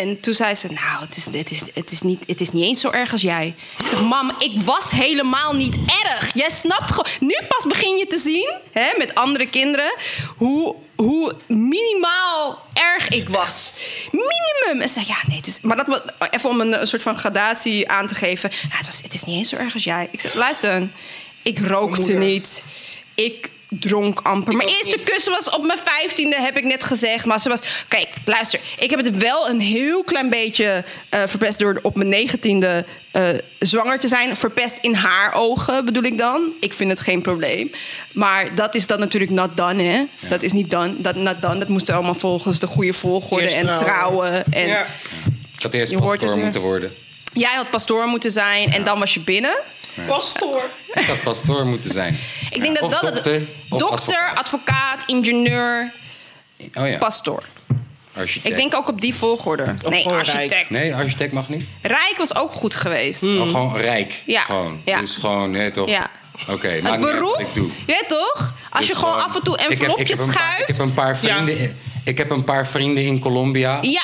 en toen zei ze, nou, het is, het, is, het, is niet, het is niet eens zo erg als jij. Ik zeg, mam, ik was helemaal niet erg. Jij snapt gewoon... Nu pas begin je te zien, hè, met andere kinderen... hoe, hoe minimaal erg ik was. Minimum. En ze zei, ja, nee, het is... Maar dat, was- even om een, een soort van gradatie aan te geven. Nou, het, was, het is niet eens zo erg als jij. Ik zeg, luister, ik rookte Moeder. niet. Ik dronk amper. Mijn ook eerste niet. kus was op mijn vijftiende, heb ik net gezegd. Maar ze was... Kijk, luister. Ik heb het wel een heel klein beetje eh, verpest... door op mijn negentiende eh, zwanger te zijn. Verpest in haar ogen, bedoel ik dan. Ik vind het geen probleem. Maar dat is dan natuurlijk not done, hè. Dat is niet done. Dat, not done. Dat moest allemaal volgens de goede volgorde. Eerst en trouwen. en Ja. Ik had eerst Je hoort pastoor het, eh. hè? moeten worden. Jij had pastoor moeten zijn en dan was je binnen. Pastoor. Ik had pastoor moeten zijn. Ik denk Ja, dat of dat... dokter, of dokter, advocaat, ingenieur, advocaat. Oh ja, pastoor. architect. Ik denk ook op die volgorde. Of nee, Hm. gewoon architect. rijk. Nee, architect mag niet. Rijk was ook goed geweest. Oh, gewoon rijk. Mm. Ja, Gewoon. ja. Dus gewoon, nee toch? Ja. Oké, maakt Het niet uit beroep, wat ik doe. je weet toch? Als je Dus gewoon af en toe ik heb- envelopjes ik heb een paar- schuift. Ik heb een paar Ja. vrienden, in- ik heb een paar vrienden in Colombia. Ja,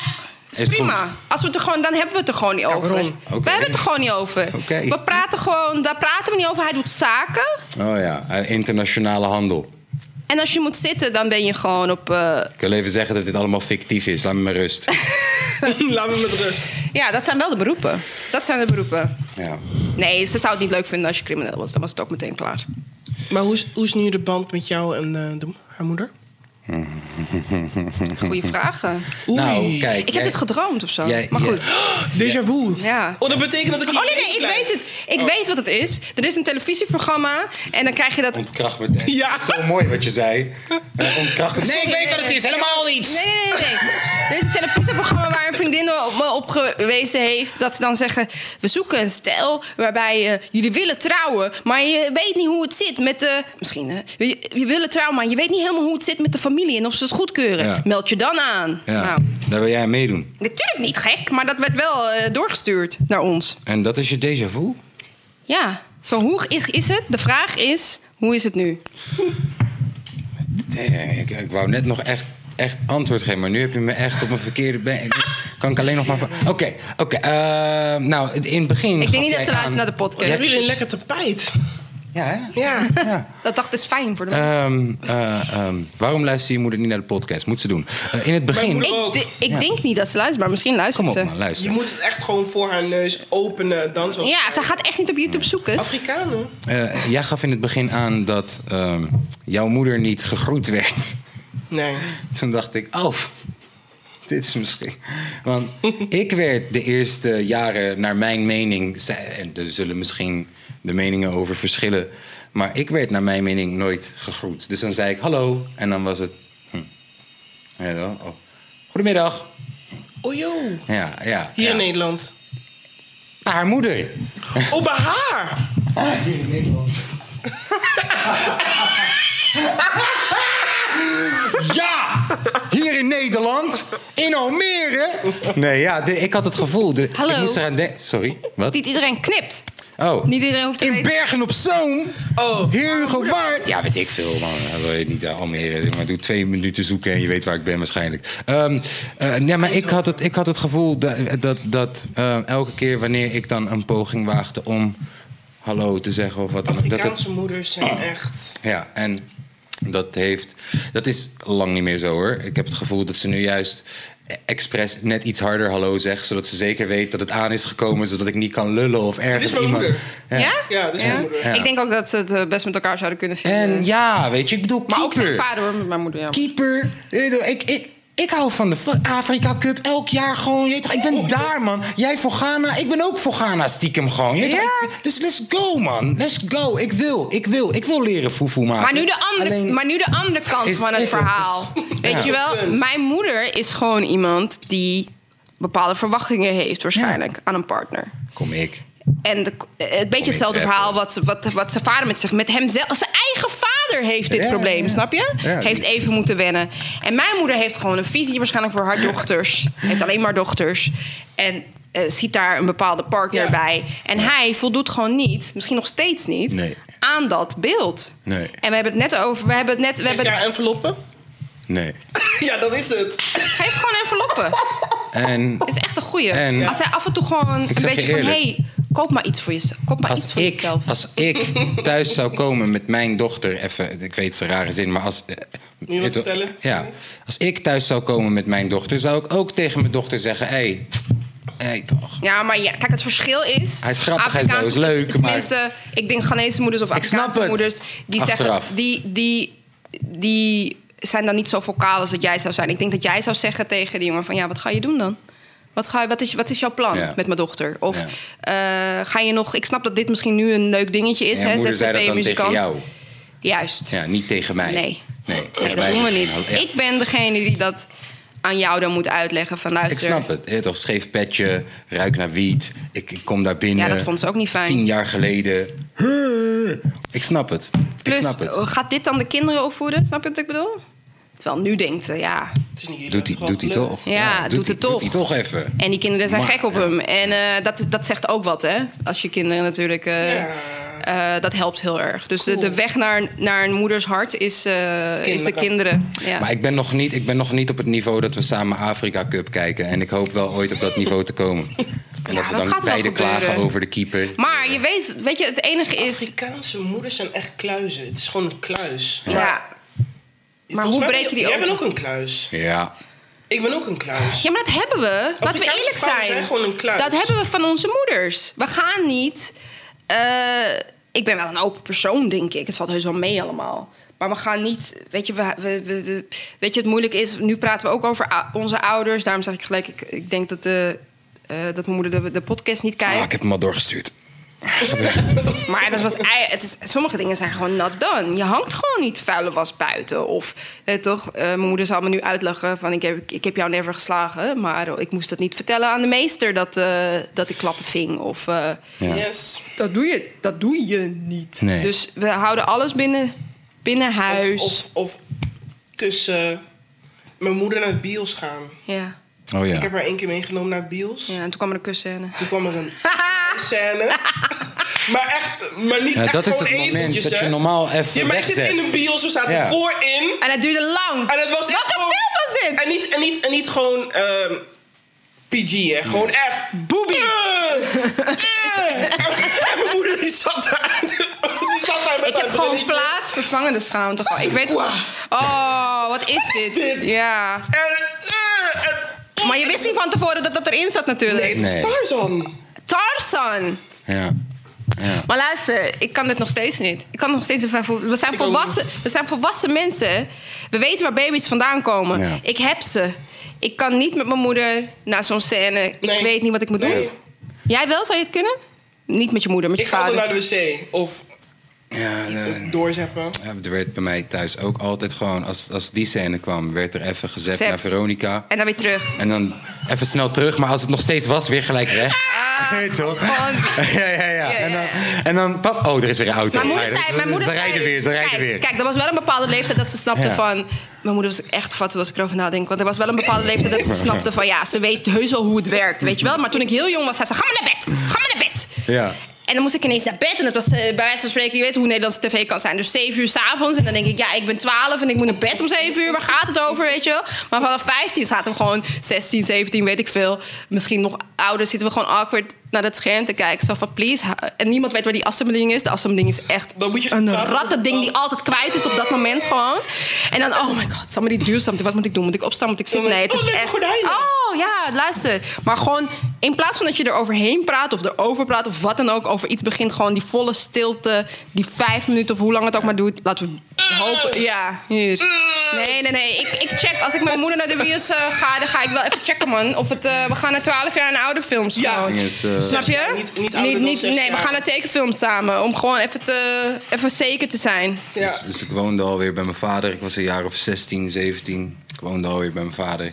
is, Is prima. goed. Als we het er gewoon, dan hebben we het er gewoon niet over. waarom? Oké. We hebben het er gewoon niet over. Oké. We praten gewoon, daar praten we niet over. Hij doet zaken. Oh ja, eh, internationale handel. En als je moet zitten, dan ben je gewoon op. eh, Ik wil even zeggen dat dit allemaal fictief is. Laat me maar rust. Laat me met rust. Ja, dat zijn wel de beroepen. Dat zijn de beroepen. ja. Nee, ze zou het niet leuk vinden als je crimineel was. Dan was het ook meteen klaar. Maar hoe is, hoe is nu de band met jou en eh, de, haar moeder? Goeie vragen. Oh, Nou, kijk. Ik jij- heb dit gedroomd of zo. jij- maar jij- goed. Déjà vu. Ja. Oh, dat betekent dat ik Oh nee, nee, ik weet het. Ik Oh. weet wat het is. Er is een televisieprogramma en dan krijg je dat... Ontkracht meteen. Ja. Zo mooi wat je zei. Eh, Ontkracht het. Nee, ik weet wat het is. Helemaal niet. Nee, nee, nee, nee. Er is een televisieprogramma waar een vriendin me op gewezen heeft. Dat ze dan zeggen, we zoeken een stijl waarbij eh, jullie willen trouwen. Maar je weet niet hoe het zit met de... Misschien, hè? Je, je willen trouwen, maar je weet niet helemaal hoe het zit met de familie. En of ze het goedkeuren. Ja. Meld je dan aan. Ja, Nou, daar wil jij aan meedoen. natuurlijk niet gek, maar dat werd wel eh, doorgestuurd naar ons. En dat is je déjà vu? Ja, zo hoog is, is het? De vraag is, hoe is het nu? Nee, ik, ik wou net nog echt, echt antwoord geven, maar nu heb je me echt op een verkeerde been. Kan ik alleen nog maar. van- Oké, oké. eh, nou, het- in het begin. Ik gaf denk niet dat jij ze luisteren naar aan- de podcast. Hebben jullie een lekker tapijt? Ja, hè? Ja. Ja. Dat dacht is fijn voor de Ehm, eh, ehm, waarom luistert je moeder niet naar de podcast? Moet ze doen. Eh, in het begin. moeder- Ik, ook. de- ik denk niet dat ze luistert, maar misschien Kom luistert op, ze. man, Je luister. moet het echt gewoon voor haar neus openen. Dan zoals Ja, ze gaat echt niet op YouTube zoeken. Afrikanen. Eh, jij gaf in het begin aan dat ehm, jouw moeder niet gegroet werd. Nee. Toen dacht ik, oh, dit is misschien. Want ik werd de eerste jaren, naar mijn mening, ze- en er zullen misschien de meningen over verschillen, maar ik werd naar mijn mening nooit gegroet. Dus dan zei ik hallo en dan was het. Hm. Ja, dan, oh. Goedemiddag. Oh joh. Ja, ja. Hier ja. in Nederland. Haar moeder. Oh, bij haar! Hier in Nederland. Ja! Hier in Nederland, in Almere. Nee, ja, de- ik had het gevoel. De, Hallo. Ik moest eraan denken. Sorry, wat? Niet iedereen knipt. Oh. Niet iedereen hoeft te in weten. Bergen op Zoom. Oh. Heer Hugo Waard. Ja, weet ik veel, man. Dat wil je niet, eh, Almere. Maar doe twee minuten zoeken en je weet waar ik ben waarschijnlijk. Ehm, eh, nee, maar ik had het, ik had het gevoel dat, dat, dat eh, elke keer wanneer ik dan een poging waagde om hallo te zeggen of wat dan ook... dat Oh. het- Afrikaanse moeders zijn echt... ja, en dat heeft. Dat is lang niet meer zo hoor. Ik heb het gevoel dat ze nu juist expres net iets harder hallo zegt, zodat ze zeker weet dat het aan is gekomen, zodat ik niet kan lullen of ergens mijn iemand. moeder. Ja? Ja, dat is mijn moeder. Ja. Ik denk ook dat ze het eh, best met elkaar zouden kunnen vinden. En ja, weet je, ik bedoel, maar ook zijn keeper. vader hoor, met mijn moeder. Ja. Keeper. Je weet toch, Ik, ik, ik hou van de fu- Afrika Cup elk jaar gewoon. je weet toch, ik Oh, ben daar, man. Jij voor Ghana. Ik ben ook voor Ghana stiekem gewoon. je weet toch, Ja. ik- dus let's go, man. Let's go. Ik wil, ik wil, ik wil leren foefoe maken. Maar nu, de andere, Alleen- maar nu de andere kant Is- van het is- verhaal. is- Weet Ja. je wel, mijn moeder is gewoon iemand die bepaalde verwachtingen heeft waarschijnlijk aan een partner. Kom ik. En de, het beetje hetzelfde rapper. verhaal wat, wat, wat zijn vader met zich... Met hem zelf, zijn eigen vader heeft dit Ja, probleem, ja. snap je? Ja, die- heeft even moeten wennen. En mijn moeder heeft gewoon een visie waarschijnlijk voor haar dochters. heeft alleen maar dochters. En eh, ziet daar een bepaalde partner Ja. bij. En hij voldoet gewoon niet, misschien nog steeds niet... Nee. aan dat beeld. Nee. En we hebben het net over... We hebben het net... We Heb hebben, jij enveloppen? Nee. ja, dat is het. Geef gewoon enveloppen. En Dat is echt een goeie. En- Als hij af en toe gewoon een Ik zeg je beetje van... eerlijk. hey, koop maar iets voor jezelf. Koop maar iets als voor ik, jezelf. als ik thuis zou komen met mijn dochter, even, ik weet het is een rare zin, maar als. eh, je wat weet wel- vertellen? Ja. Als ik thuis zou komen met mijn dochter, zou ik ook tegen mijn dochter zeggen: hé, hey, hey, toch. Ja, maar ja, kijk, het verschil is... Hij is grappig, hij is Afrikaanse- zo, is leuk, maar- Tenminste, ik denk Ghanese moeders of snap Afrikaanse het. moeders... die Achteraf. zeggen... Die, die, die zijn dan niet zo vocaal als dat jij zou zijn. Ik denk dat jij zou zeggen tegen die jongen van... ja, wat ga je doen dan? Wat, ga je, wat, is, wat is jouw plan Ja. met mijn dochter? Of Ja. eh, ga je nog... Ik snap dat dit misschien nu een leuk dingetje is. En hè, je moeder zei dat dan tegen ZZP-muzikant. jou. Juist. Ja, niet tegen mij. Nee. Nee, Nee, tegen dat mij doen we is- niet. Ja. Ik ben degene die dat aan jou dan moet uitleggen. Van Ik luister, snap het. hè, toch, scheef petje, ruik naar wiet. Ik, ik kom daar binnen. Ja, dat vond ze ook niet fijn. Tien jaar geleden. Ik snap het. ik Plus, Oh. snap het. gaat dit dan de kinderen opvoeden? Snap je wat ik bedoel? Terwijl nu denkt ze, ja. Het is niet jullie Doet hij hebben doet hij gewoon toch? Ja, doet hij- het toch. Doet hij toch even. En die kinderen zijn Maar, gek op ja. hem. En eh, dat, dat zegt ook wat, hè? Als je kinderen natuurlijk... eh, Ja. eh, dat helpt heel erg. Dus de, Cool. de weg naar, naar een moeders hart is, eh, is Kinderen. de kinderen. Ja. Maar ik ben, nog niet, ik ben nog niet op het niveau dat we samen Afrika Cup kijken. En ik hoop wel ooit op dat niveau te komen. En Ja, dat we dat dan gaat wel beide gebeuren. klagen over de keeper. Maar je weet, weet je, het enige is... Afrikaanse moeders zijn echt kluizen. Het is gewoon een kluis. Ja, Volgens hoe mij ben breek je die Jij open? bent ook een kluis. Ja, Ik ben ook een kluis. Ja, maar dat hebben we. Laten we Afrikaanse eerlijk vrouwen zijn. zijn gewoon een kluis. Dat hebben we van onze moeders. We gaan niet. eh, ik ben wel een open persoon, denk ik. Het valt heus wel mee allemaal. Maar we gaan niet, weet je, we, we- we- we- weet je, het moeilijk is. Nu praten we ook over ou- onze ouders. Daarom zeg ik gelijk, ik, ik denk dat, de, eh, dat mijn moeder de, de podcast niet kijkt. Ah, ik heb hem al doorgestuurd. Maar dat was, ei- het is, sommige dingen zijn gewoon not done. Je hangt gewoon niet vuile was buiten. Of eh, toch, eh, mijn moeder zal me nu uitlachen van ik heb, ik heb jou never geslagen. Maar ik moest dat niet vertellen aan de meester dat, eh, dat ik klappen ving. Of eh, Ja. Yes. dat, doe je, dat doe je niet. Nee. Dus we houden alles binnen, binnen huis. Of, of, of kussen. Mijn moeder naar het bios gaan. Ja. Oh Ik heb ja. haar één keer meegenomen naar het bios. ja, en toen kwam er een kussen. Toen kwam er een scène. Maar echt, maar niet Ja, echt dat is gewoon het moment eventjes, dat hè. je normaal even Ja, maar ik zit wegzet. in een bios, we zaten Ja. voorin. En het duurde lang. En het was echt Wat een gewoon... film was dit? En niet, en niet, en niet gewoon ehm, PG, hè. Gewoon echt... Boobies! Eh! en mijn moeder die zat daar. Die zat daar met Ik haar heb gewoon brilletje. plaatsvervangende schaamte. gehad. Ik weet Oh, wat is dit? dit? Ja. En, eh, en- Maar je wist niet van tevoren dat dat erin zat natuurlijk. Nee, het was Nee. Tarzan. Tarzan. Ja. ja. Maar luister, ik kan dit nog steeds niet. Ik kan nog steeds niet van vo- we zijn ook volwassen. We zijn volwassen mensen. We weten waar baby's vandaan komen. Ja. Ik heb ze. Ik kan niet met mijn moeder naar zo'n scène. Ik Nee. weet niet wat ik moet doen. Nee. Jij wel? Zou je het kunnen? Niet met je moeder, met je Ik ga vader. altijd naar de wc. Of ja nee. doorzeppen. Ja, er werd bij mij thuis ook altijd gewoon, als, als die scène kwam, werd er even gezet Zet. naar Veronica. En dan weer terug. En dan even snel terug, maar als het nog steeds was, weer gelijk weg. Nee, toch? gewoon- ja, ja, Ah. ja. En dan, en dan pap, oh, er is weer een auto. Mijn moeder Ja, dat- zei, mijn moeder ze zei- rijden weer, ze rijden kijk, weer. Kijk, er was wel een bepaalde leeftijd dat ze snapte Ja. van... Mijn moeder was echt fat als ik erover nadenk. Want er was wel een bepaalde leeftijd dat ze snapte van... Ja, ze weet heus wel hoe het werkt, weet je wel. Maar toen ik heel jong was, zei ze... Ga maar naar bed, ga maar naar bed. Ja. En dan moest ik ineens naar bed. En dat was eh, bij wijze van spreken, je weet hoe Nederlandse tv kan zijn. Dus 7 uur s'avonds. En dan denk ik, ja, ik ben 12 en ik moet naar bed om 7 uur. Waar gaat het over, weet je wel? Maar vanaf 15 zaten we gewoon 16, 17, weet ik veel. Misschien nog ouder zitten we gewoon awkward naar dat scherm te kijken. Zo van, please. ha- En niemand weet waar die assembeling is. De assembeling is echt Dan moet je een gaan- rattending die altijd kwijt is op dat moment gewoon. En dan, oh my god, somebody do something. Wat moet ik doen? Moet ik opstaan? Moet ik zitten? Nee, het Oh, is leuke echt... gordijnen. Oh, Oh ja, luister. Maar gewoon in plaats van dat je er overheen praat of erover praat of wat dan ook, over iets begint gewoon die volle stilte, die vijf minuten of hoe lang het ook maar doet. Laten we hopen. Ja, hier. Nee, nee, nee. Ik, ik check. Als ik met mijn moeder naar de bios eh, ga, dan ga ik wel even checken, man. Of het, eh, we gaan naar 12 jaar en oude films Ja. gewoon. Yes, eh, Snap je? Niet- niet ouder dan zes Nee, we jaar. gaan naar tekenfilms samen. Om gewoon even, te, even zeker te zijn. Ja. Dus, dus ik woonde alweer bij mijn vader. Ik was een jaar of 16, 17. Ik woonde alweer bij mijn vader.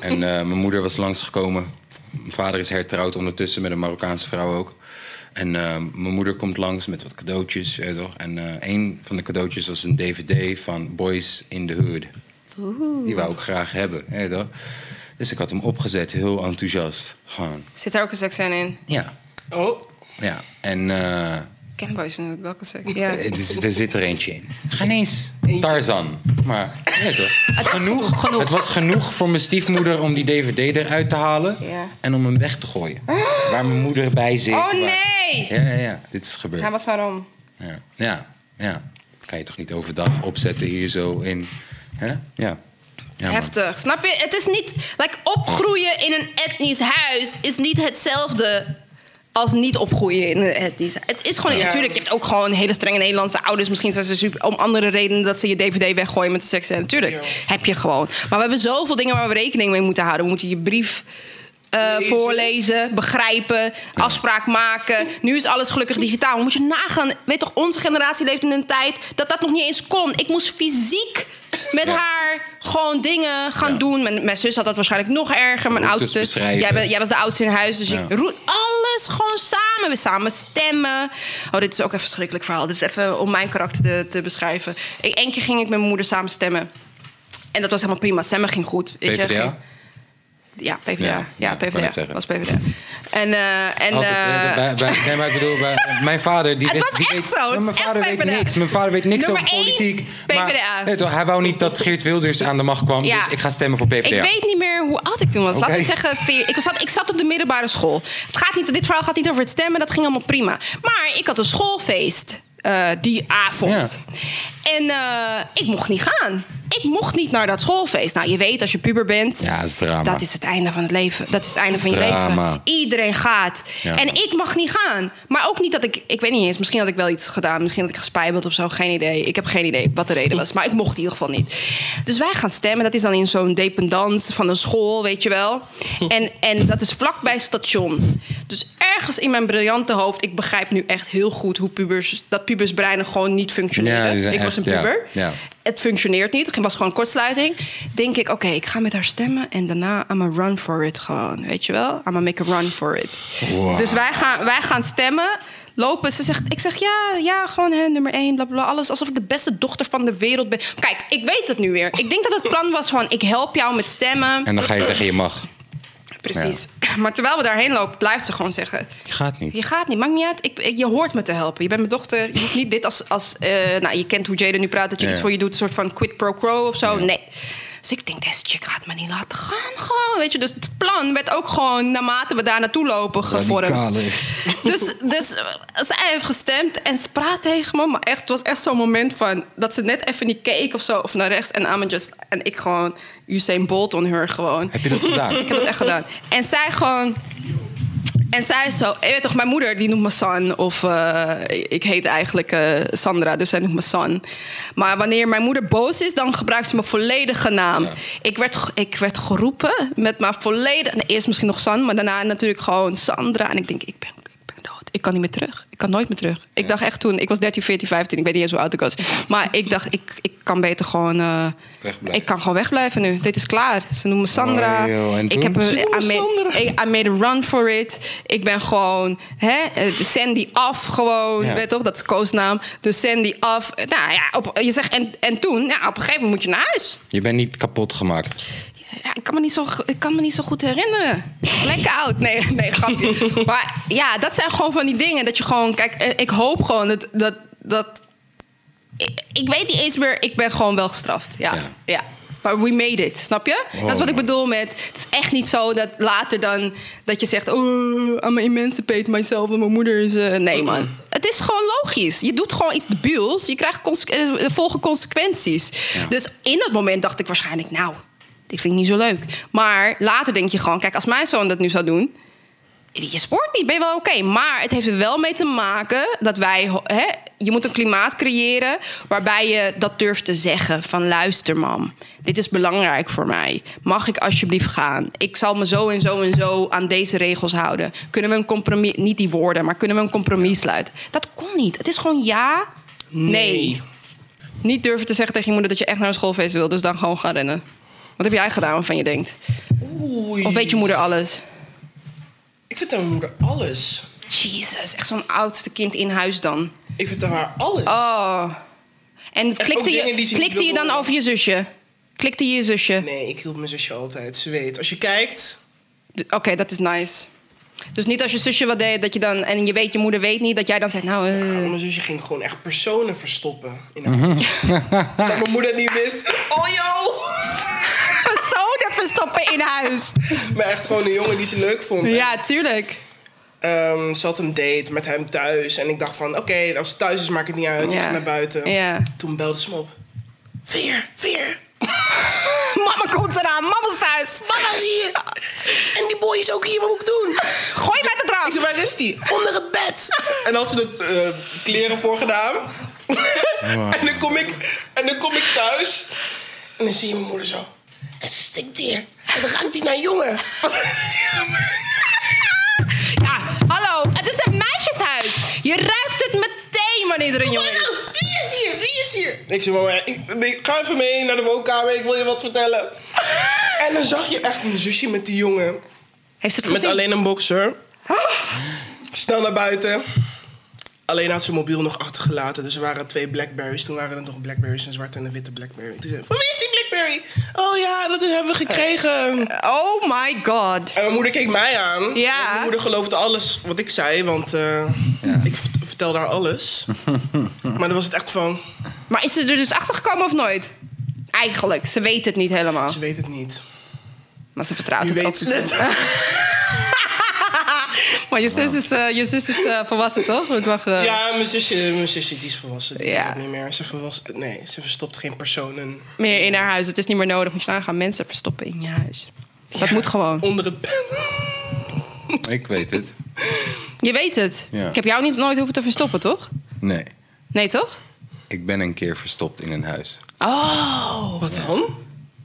En eh, mijn moeder was langsgekomen. Mijn vader is hertrouwd ondertussen met een Marokkaanse vrouw ook. En eh, mijn moeder komt langs met wat cadeautjes. eh, toch? En eh, een van de cadeautjes was een DVD van Boys in the Hood. Die wou ik graag hebben. eh, toch? Dus ik had hem opgezet, heel enthousiast. Gewoon. Zit daar ook een seks in? Ja, Oh. ja. En. eh, Kenboys natuurlijk, welke seks? Ja. eh, dus er zit er eentje in. Geen eens. Tarzan. Maar ja, toch. Het was genoeg, genoeg. Het was genoeg voor mijn stiefmoeder om die dvd eruit te halen. Ja. En om hem weg te gooien. Waar mijn moeder bij zit. Oh, waar- nee! Ja, ja, ja. Dit is Hij gebeurd. was daarom. Ja, ja. ja. Kan je toch niet overdag opzetten hier zo in... Hè? Ja. ja man. Heftig. Snap je? Het is niet. Like, opgroeien in een etnisch huis is niet hetzelfde als niet opgroeien in een etnisch huis. Het is gewoon. Ja. Natuurlijk, je hebt ook gewoon hele strenge Nederlandse ouders. Misschien zijn ze super. Om andere redenen dat ze je DVD weggooien met de seks. En natuurlijk Ja. heb je gewoon. Maar we hebben zoveel dingen waar we rekening mee moeten houden. We moeten je brief. eh, Lezen. voorlezen, begrijpen, afspraak maken. Nu is alles gelukkig digitaal. Moet je nagaan, weet toch, onze generatie leeft in een tijd dat dat nog niet eens kon. Ik moest fysiek met Ja. haar maar gewoon dingen gaan Ja. doen. Mijn, mijn zus had dat waarschijnlijk nog erger. Mijn Routes oudste. beschrijven. Jij, bent- jij was de oudste in huis. Dus Ja. ik roet alles gewoon samen. We samen stemmen. Oh, dit is ook een verschrikkelijk verhaal. Dit is even om mijn karakter te, te beschrijven. Ik, Eén keer ging ik met mijn moeder samen stemmen. En dat was helemaal prima. Stemmen ging goed. Weet Je, ging- PvdA? ja, PvdA. Ja, Ja, ja, ik wou net PvdA. zeggen. Was PvdA. En, eh, en Altijd, eh, eh, bij, bij- nee, maar ik bedoel, bij- mijn vader... Die Het wist, was die echt weet, zo, Ja, het is Mijn echt vader weet PvdA. niks. Mijn vader weet niks Nummer over één, politiek. PvdA. Maar, weet je wel, hij wou niet dat Geert Wilders aan de macht kwam. Ja. Dus ik ga stemmen voor PvdA. Ik weet niet meer hoe oud ik toen was. Laten we Oké. zeggen, veer- ik zat, ik zat op de middelbare school. Het gaat niet, dit verhaal gaat niet over het stemmen, dat ging allemaal prima. Maar ik had een schoolfeest eh, die avond. En eh, ik mocht niet gaan. Ik mocht niet naar dat schoolfeest. Nou, je weet, als je puber bent, Ja, dat is drama. dat is het einde van het leven. Dat is het einde van je Drama. leven. Iedereen gaat. Ja. En ik mag niet gaan. Maar ook niet dat ik, ik weet niet eens, misschien had ik wel iets gedaan. Misschien had ik gespijbeld of zo, geen idee. Ik heb geen idee wat de reden was. Maar ik mocht in ieder geval niet. Dus wij gaan stemmen. Dat is dan in zo'n dependance van een school, weet je wel. En, en dat is vlakbij het station. Dus ergens in mijn briljante hoofd, ik begrijp nu echt heel goed hoe pubers, dat pubersbreinen gewoon niet Ja, functioneren. die zijn ik was een echt- ja, puber ja. het functioneert niet. Het was gewoon kortsluiting. Denk ik, oké, ik ga met haar stemmen. En daarna, I'm a run for it gewoon. Weet je wel? I'm a make a run for it. Wow. Dus wij gaan, wij gaan stemmen. Lopen. Ze zegt, ik zeg, ja, ja, gewoon hè, nummer één, bla, bla, bla. Alles alsof ik de beste dochter van de wereld ben. Kijk, ik weet het nu weer. Ik denk dat het plan was van, ik help jou met stemmen. En dan ga je zeggen, je mag. Precies. Maar terwijl we daarheen lopen, blijft ze gewoon zeggen... Je gaat niet. Je gaat niet, maakt niet uit. Ik, ik- je hoort me te helpen. Je bent mijn dochter. Je hoeft niet dit als... als eh, nou, je kent hoe Jada nu praat. Dat je Ja. iets voor je doet. Een soort van quid pro quo of zo. Nee. Dus ik denk, deze chick gaat me niet laten gaan. Gewoon, weet je. Dus het plan werd ook gewoon... naarmate we daar naartoe lopen gevormd. Radicale. Dus, dus eh, zij heeft gestemd en ze praat tegen me. Maar echt, het was echt zo'n moment van... dat ze net even niet keek of zo. Of naar rechts. En I'm just... En ik gewoon Usain Bolt on her gewoon. Heb je dat gedaan? Ik heb het echt gedaan. En zij gewoon. En zij is zo. Je weet toch, mijn moeder die noemt me San. Of eh, ik heet eigenlijk eh, Sandra, dus zij noemt me San. Maar wanneer mijn moeder boos is, dan gebruikt ze mijn volledige naam. Ja. Ik, werd, ge- ik werd geroepen met mijn volledige. nou, eerst misschien nog San, maar daarna natuurlijk gewoon Sandra. En ik denk, ik ben, ik ben dood. Ik kan niet meer terug. Ik kan nooit meer terug. Ik dacht echt toen, ik was 13, 14, 15. Ik weet niet eens hoe oud ik was. Maar ik dacht, ik, ik kan beter gewoon. eh, Wegblijven. ik kan gewoon wegblijven nu. Dit is klaar. Ze noemen me Sandra. Oh, joh, en toen? ik heb Ze een, I noemen made, Sandra. I I made a run for it. Ik ben gewoon hè, eh, Sandy af gewoon. Ja. Weet toch, dat is koosnaam. Dus Sandy af. Nou ja, op, je zegt en, en toen, nou, op een gegeven moment moet je naar huis. Je bent niet kapot gemaakt. Ja, ik, kan me niet zo, g- ik kan me niet zo goed herinneren. Lekker oud. Nee, nee, grapje. maar ja, dat zijn gewoon van die dingen. Dat je gewoon, kijk, eh, ik hoop gewoon dat. dat, dat ik, ik weet niet eens meer, ik ben gewoon wel gestraft. Ja. Ja. Oh, ja. Maar we made it, snap je? dat is wat ik man. bedoel met. Het is echt niet zo dat later dan. dat je zegt. Oh, I'm emancipate myself. En mijn moeder is. eh," nee, man. Het is gewoon logisch. Je doet gewoon iets debiels. Je krijgt cons- eh, de volgen consequenties. Dus in dat moment dacht ik waarschijnlijk. Nou, dit vind ik niet zo leuk. Maar later denk je gewoon. Kijk, als mijn zoon dat nu zou doen. Je sport niet, ben je wel oké. Maar het heeft er wel mee te maken dat wij... ho- Hè, je moet een klimaat creëren waarbij je dat durft te zeggen. Van luister mam, dit is belangrijk voor mij. Mag ik alsjeblieft gaan? Ik zal me zo en zo en zo aan deze regels houden. Kunnen we een compromis... Niet die woorden, maar kunnen we een compromis sluiten? Dat kon niet. Het is gewoon ja, nee. Nee. Niet durven te zeggen tegen je moeder dat je echt naar een schoolfeest wil. Dus dan gewoon gaan rennen. Wat heb jij gedaan waarvan je denkt? Oei. Of weet je moeder alles? Ik vertel mijn moeder alles. Jezus, echt zo'n oudste kind in huis dan. Ik vertel haar alles. Oh. En ook klikte dingen die je, ze niet klikte je wil dan horen. over je zusje? Klikte je je zusje? Nee, ik hielp mijn zusje altijd. Ze weet. Als je kijkt, D- Oké, dat is nice. Dus niet als je zusje wat deed, dat je dan... En je weet, je moeder weet niet, dat jij dan zegt, nou... eh. Nou, mijn zusje ging gewoon echt personen verstoppen. In haar Dat mijn moeder het niet wist. Oh joh! Personen verstoppen in huis. Maar echt gewoon een jongen die ze leuk vond. Ja, tuurlijk. Ehm, ze had een date met hem thuis. En ik dacht van, oké, als het thuis is, maakt het niet uit. Ik Ja. ga naar buiten. Ja. Toen belde ze me op. Veer, veer. Mama komt eraan, mama is thuis. Mama is hier. En die boy is ook hier, wat moet ik doen? Gooi hem uit het Ik raam. zei, waar is die? Onder het bed. En dan had ze de eh, kleren voor gedaan. en, dan kom ik, en dan kom ik thuis. En dan zie je mijn moeder zo. Het stinkt hier. Het ruikt hier naar jongen. Ja, hallo, het is een meisjeshuis. Je ruikt het meteen wanneer er een jongen is. Wie is hier? Wie is hier? Ik zei, mama, ik, ik ga even mee naar de woonkamer. Ik wil je wat vertellen. En dan zag je echt mijn zusje met die jongen. Heeft ze het Met gezien? alleen een boxer. Snel naar buiten. Alleen had ze mobiel nog achtergelaten. Dus er waren twee Blackberries. Toen waren er nog Blackberries, een zwarte en een witte Blackberry. Toen zei ze, van wie is die Blackberry? Oh ja, dat is- hebben we gekregen. Oh my god. En mijn moeder keek mij aan. Ja. Want Mijn moeder geloofde alles wat ik zei, want eh, ik vert- vertelde haar alles. maar dan was het echt van, Maar is ze er dus achter gekomen of nooit? Eigenlijk, ze weet het niet helemaal. ze weet het niet. Maar ze vertrouwt Nu het weet ook. ze het. Maar Want je zus is, eh, je zus is eh, volwassen, toch? Het mag, eh, Ja, mijn zusje, mijn zusje die is volwassen. Die Ja. doet dat niet meer. Ze, volwassen, nee, ze verstopt geen personen Meer in haar huis. Het is niet meer nodig. Moet je nagaan. Mensen verstoppen in je huis. Dat moet gewoon. onder het bed. Ik weet het. Je weet het. Ja. Ik heb jou niet nooit hoeven te verstoppen, toch? Nee, Nee, toch? ik ben een keer verstopt in een huis. Oh. Wat dan?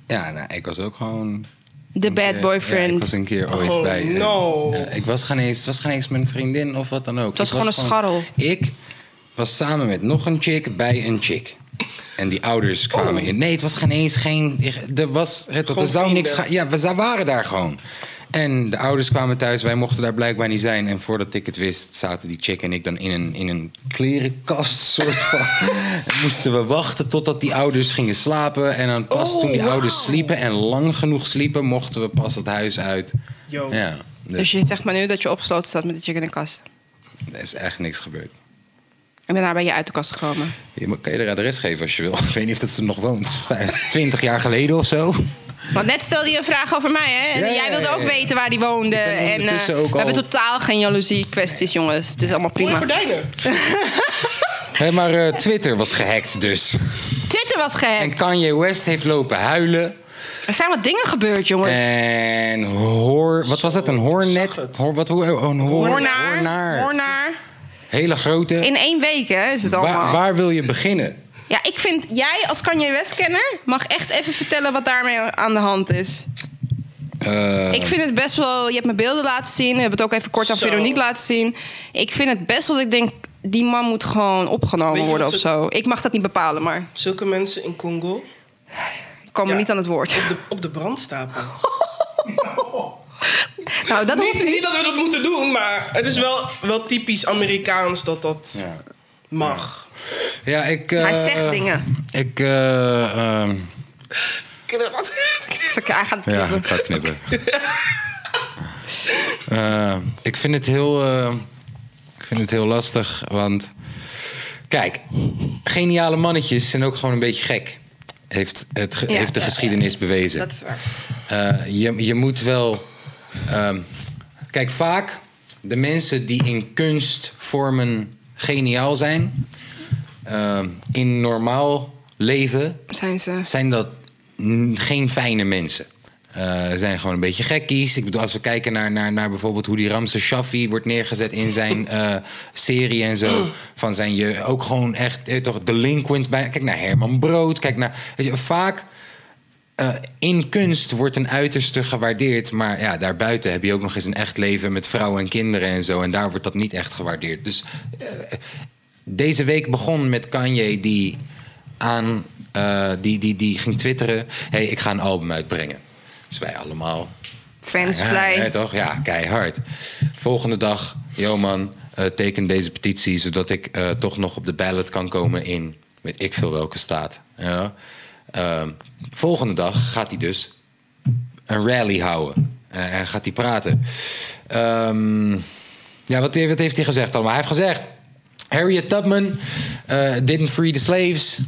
Ja, nou, ik was ook gewoon... De een bad keer- boyfriend. Ja, ik was een keer ooit Oh, bij... eh, no. eh, ik was geen eens, het was geen eens mijn vriendin of wat dan ook. Het was gewoon een scharrel. Ik was samen met nog een chick bij een chick. En die ouders kwamen in. Nee, het was geen eens geen... Er was... Het, Oh. Gewoon er zou niks vrienden. gaan... Ja, we za- waren daar gewoon. En de ouders kwamen thuis, wij mochten daar blijkbaar niet zijn. En voordat ik het wist, zaten die chick en ik dan in een, in een klerenkast soort van. En moesten we wachten totdat die ouders gingen slapen. En dan pas Oh, toen die wauw. ouders sliepen en lang genoeg sliepen, mochten we pas het huis uit. Yo. Ja, Dus dus je zegt maar nu dat je opgesloten staat met de chick in de kast. er is echt niks gebeurd. En daarna ben je uit de kast gekomen. Je moet- kan je haar adres geven als je wil. Ik weet niet of dat ze nog woont. Vijf- 20 jaar geleden of zo. Want net stelde je een vraag over mij, hè? En Ja, ja, jij wilde ja, ook ja. weten waar die woonde. Ik ben En eh, ondertussen ook we al- hebben totaal geen jaloezie kwesties, jongens. Het is allemaal Mooie prima. gordijnen. Hé, maar eh, Twitter was gehackt dus. Twitter was En gehackt. Kanye West heeft lopen huilen. Er zijn wat dingen gebeurd, jongens. Eh, En hoor, wat was het? Een ik hoornet? zag het. Hoor, wat, hoe, oh, een hoor, Hoornaar. hoornaar. Hoornaar. Hele grote. In één week, hè, is het allemaal. Waar, waar wil je beginnen? Ja, ik vind, jij als Kanye West-kenner mag echt even vertellen wat daarmee aan de hand is. Eh, Ik vind het best wel, je hebt me beelden laten zien, je hebt het ook even kort aan Zo. Veronique laten zien. Ik vind het best wel dat ik denk, die man moet gewoon opgenomen Weet je worden wat of ze- zo. Ik mag dat niet bepalen, maar Zulke mensen in Congo ik kwam Ja. er niet aan het woord. op de, op de brandstapel. Nou, dat hoeft Niet, niet. niet dat we dat moeten doen, maar het is wel, wel typisch Amerikaans dat dat Ja. mag. Ja, ik... eh, Hij zegt dingen. Ik... eh, ehm, Zo, Hij gaat het ja, knippen. ik ga knippen. Eh, ik vind het heel... eh, ik vind het heel lastig, want... Kijk, geniale mannetjes zijn ook gewoon een beetje gek. Heeft, het, ge- Ja, heeft de ja, ja. geschiedenis bewezen. Dat is waar. Eh, je, je moet wel. ehm, kijk, vaak de mensen die in kunstvormen geniaal zijn, ehm, in normaal leven Zijn ze. zijn dat n- geen fijne mensen. Eh zijn gewoon een beetje gekkies. Ik bedoel, als we kijken naar, naar, naar bijvoorbeeld hoe die Ramse Shaffi wordt neergezet in zijn eh, serie en zo. Van zijn je ook gewoon echt eh, toch delinquent bij. Kijk naar Herman Brood. Kijk naar. Weet je, vaak eh, in kunst wordt een uiterste gewaardeerd. Maar ja, daarbuiten heb je ook nog eens een echt leven met vrouwen en kinderen en zo. En daar wordt dat niet echt gewaardeerd. Dus eh, deze week begon met Kanye die aan eh, die, die, die ging twitteren. hey, ik ga een album uitbrengen. Dus wij allemaal. Fans ja, blij. ja, toch? Ja, keihard. Volgende dag, yo man, eh, teken deze petitie zodat ik eh, toch nog op de ballot kan komen in weet ik veel welke staat. Ja. Ehm, volgende dag gaat hij dus een rally houden. Eh, en gaat hij praten. Ehm, ja, wat, heeft- wat heeft hij gezegd allemaal? Hij heeft gezegd... Harriet Tubman eh, didn't free the slaves.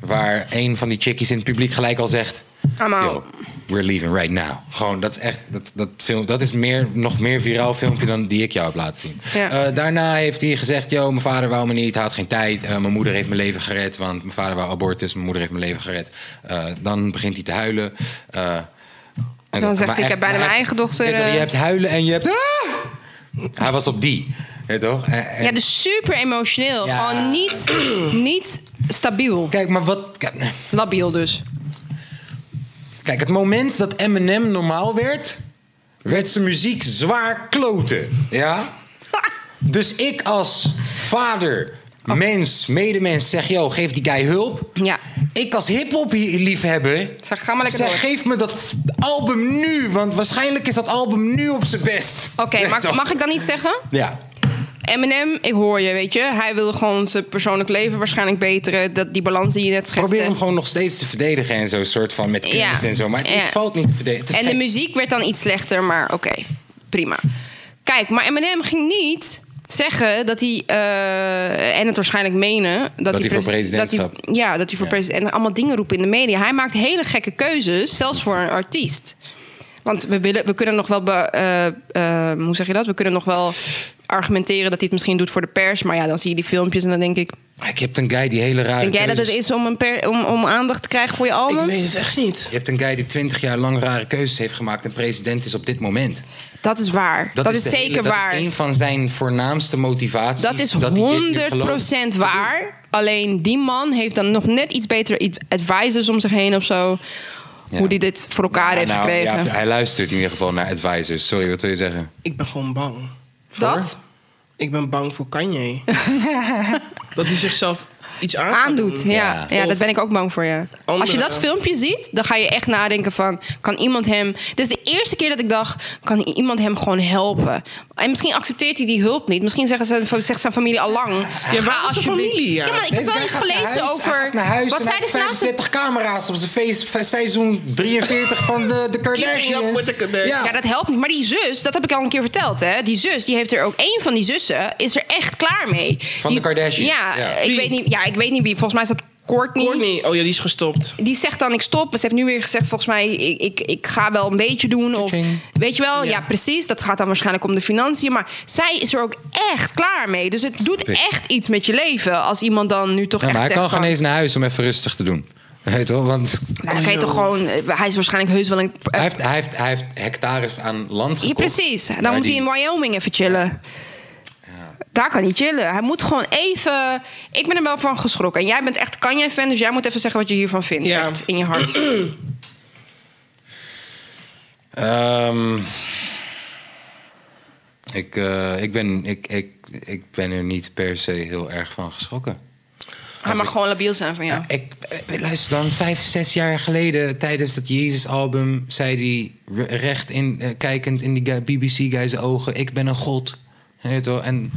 Waar een van die chickies in het publiek gelijk al zegt... I'm out. "Yo, we're leaving right now. Gewoon, dat is echt... Dat, dat, film, dat is meer, nog meer viraal filmpje dan die ik jou heb laten zien. Ja. Eh, eh, daarna heeft hij gezegd: Yo, mijn vader wou me niet, hij had geen tijd. Eh, mijn moeder heeft mijn leven gered, want mijn vader wou abortus, mijn moeder heeft mijn leven gered. Eh, dan begint hij te huilen. Eh, en Dan zegt hij, maar "Ik heb bijna maar mijn echt- eigen dochter, Weet je wel, eh." Je hebt huilen en je hebt. "Ah!" Hij was op die. Weet je toch? En- en- Ja, dus super emotioneel. Ja. Gewoon niet, niet stabiel. Kijk, maar wat. kijk, Labiel dus. Kijk, het moment dat Eminem normaal werd, werd zijn muziek zwaar kloten. Ja? Dus ik als vader, mens, medemens zeg, yo, geef die guy hulp. Oh. Ja. Ik als hip-hop liefhebber. Zeg, ga maar lekker zeg, door. geef me dat f- album nu, want waarschijnlijk is dat album nu op zijn best. Oké, Nee, maar toch? mag ik dan iets zeggen? Ja. Eminem, ik hoor je, weet je. Hij wil gewoon zijn persoonlijk leven waarschijnlijk beteren. Dat, die balans die je net schetste. Probeer hem gewoon nog steeds te verdedigen en zo, soort van met kunst eh, Ja. en zo. Maar het Ja. valt niet te verdedigen. Het is En de gek. muziek werd dan iets slechter, maar oké, prima. Kijk, maar Eminem ging niet zeggen dat hij, eh, en het waarschijnlijk menen... Dat, hij voor pres- presidentschap. dat hij- ja, dat hij voor Ja. president... En allemaal dingen roepen in de media. Hij maakt hele gekke keuzes, zelfs voor een artiest. Want we, willen, we kunnen nog wel, be- eh, eh, hoe zeg je dat? We kunnen nog wel argumenteren dat hij het misschien doet voor de pers. Maar ja, dan zie je die filmpjes en dan denk ik... Ah, Ik heb een guy die hele rare Denk jij dat het keuzes- is om, een per, om, om aandacht te krijgen voor je Ik album? weet het echt niet. Je hebt een guy die twintig jaar lang rare keuzes heeft gemaakt en president is op dit moment. Dat is waar. Dat, is, de hele- zeker waar. Dat is een van zijn voornaamste motivaties. Dat is hij dit nu gelooft. 100% waar. Alleen die man heeft dan nog net iets betere i- advisors om zich heen of zo. Ja. Hoe die dit voor elkaar Ja, heeft nou, gekregen. ja, hij luistert in ieder geval naar advisors. Sorry, wat wil je zeggen? Ik ben gewoon bang. dat? Ik ben bang voor Kanye. dat hij zichzelf iets aan gaat Aandoet. doen. Ja, ja. Ja. dat Of ben ik ook bang voor, ja. Als je andere- dat filmpje ziet, dan ga je echt nadenken van... kan iemand hem... Dit is de eerste keer dat ik dacht... kan iemand hem gewoon helpen? En misschien accepteert hij die hulp niet. Misschien zeggen zijn, zegt zijn familie al lang... Ja, waar is zijn familie? Ja. Ja, maar ik heb Deze wel guy iets gaat naar gelezen huis, hij over... gaat naar huis Wat en hij zeiden ze heeft nou? Ze 35 camera's op zijn face, fe- seizoen 43 van de, de Keeping up Kardashians. with the Kardashians. Ja, dat helpt niet. Maar die zus, dat heb ik al een keer verteld, hè. Die zus, die heeft er ook... één van die zussen is er echt klaar mee. Van Die- de Kardashians. Ja, Ja. Ik Wie? weet niet, ja, ik weet niet wie. Volgens mij is dat Courtney. Courtney, oh ja, die is gestopt. Die zegt dan, ik stop. Maar ze heeft nu weer gezegd, volgens mij, ik, ik, ik ga wel een beetje doen. Of, Ka-ching. weet je wel? Ja. Ja. precies. Dat gaat dan waarschijnlijk om de financiën. Maar zij is er ook echt klaar mee. Dus het doet Pik. echt iets met je leven. Als iemand dan nu toch Ja, echt maar hij zegt kan van- geen eens naar huis om even rustig te doen. Weet je wel, want Nou, dan kan je toch gewoon... Hij is waarschijnlijk heus wel een... eh, hij heeft, hij, heeft, hij heeft hectares aan land Ja, gekocht. precies. Dan Maar moet die- hij in Wyoming even chillen. Daar kan hij chillen. Hij moet gewoon even... Ik ben er wel van geschrokken. En jij bent echt Kanye-fan, dus jij moet even zeggen wat je hiervan vindt. Ja. Echt, in je hart. Ehm, ik, eh, ik, ben, ik, ik, ik ben er niet per se heel erg van geschrokken. Hij mag gewoon labiel zijn van jou. Ja, ik, eh, luister dan, vijf, zes jaar geleden tijdens dat Jezus-album... zei hij re- recht in, eh, kijkend in die guy- BBC-guy's ogen... ik ben een god. Weet je wel, En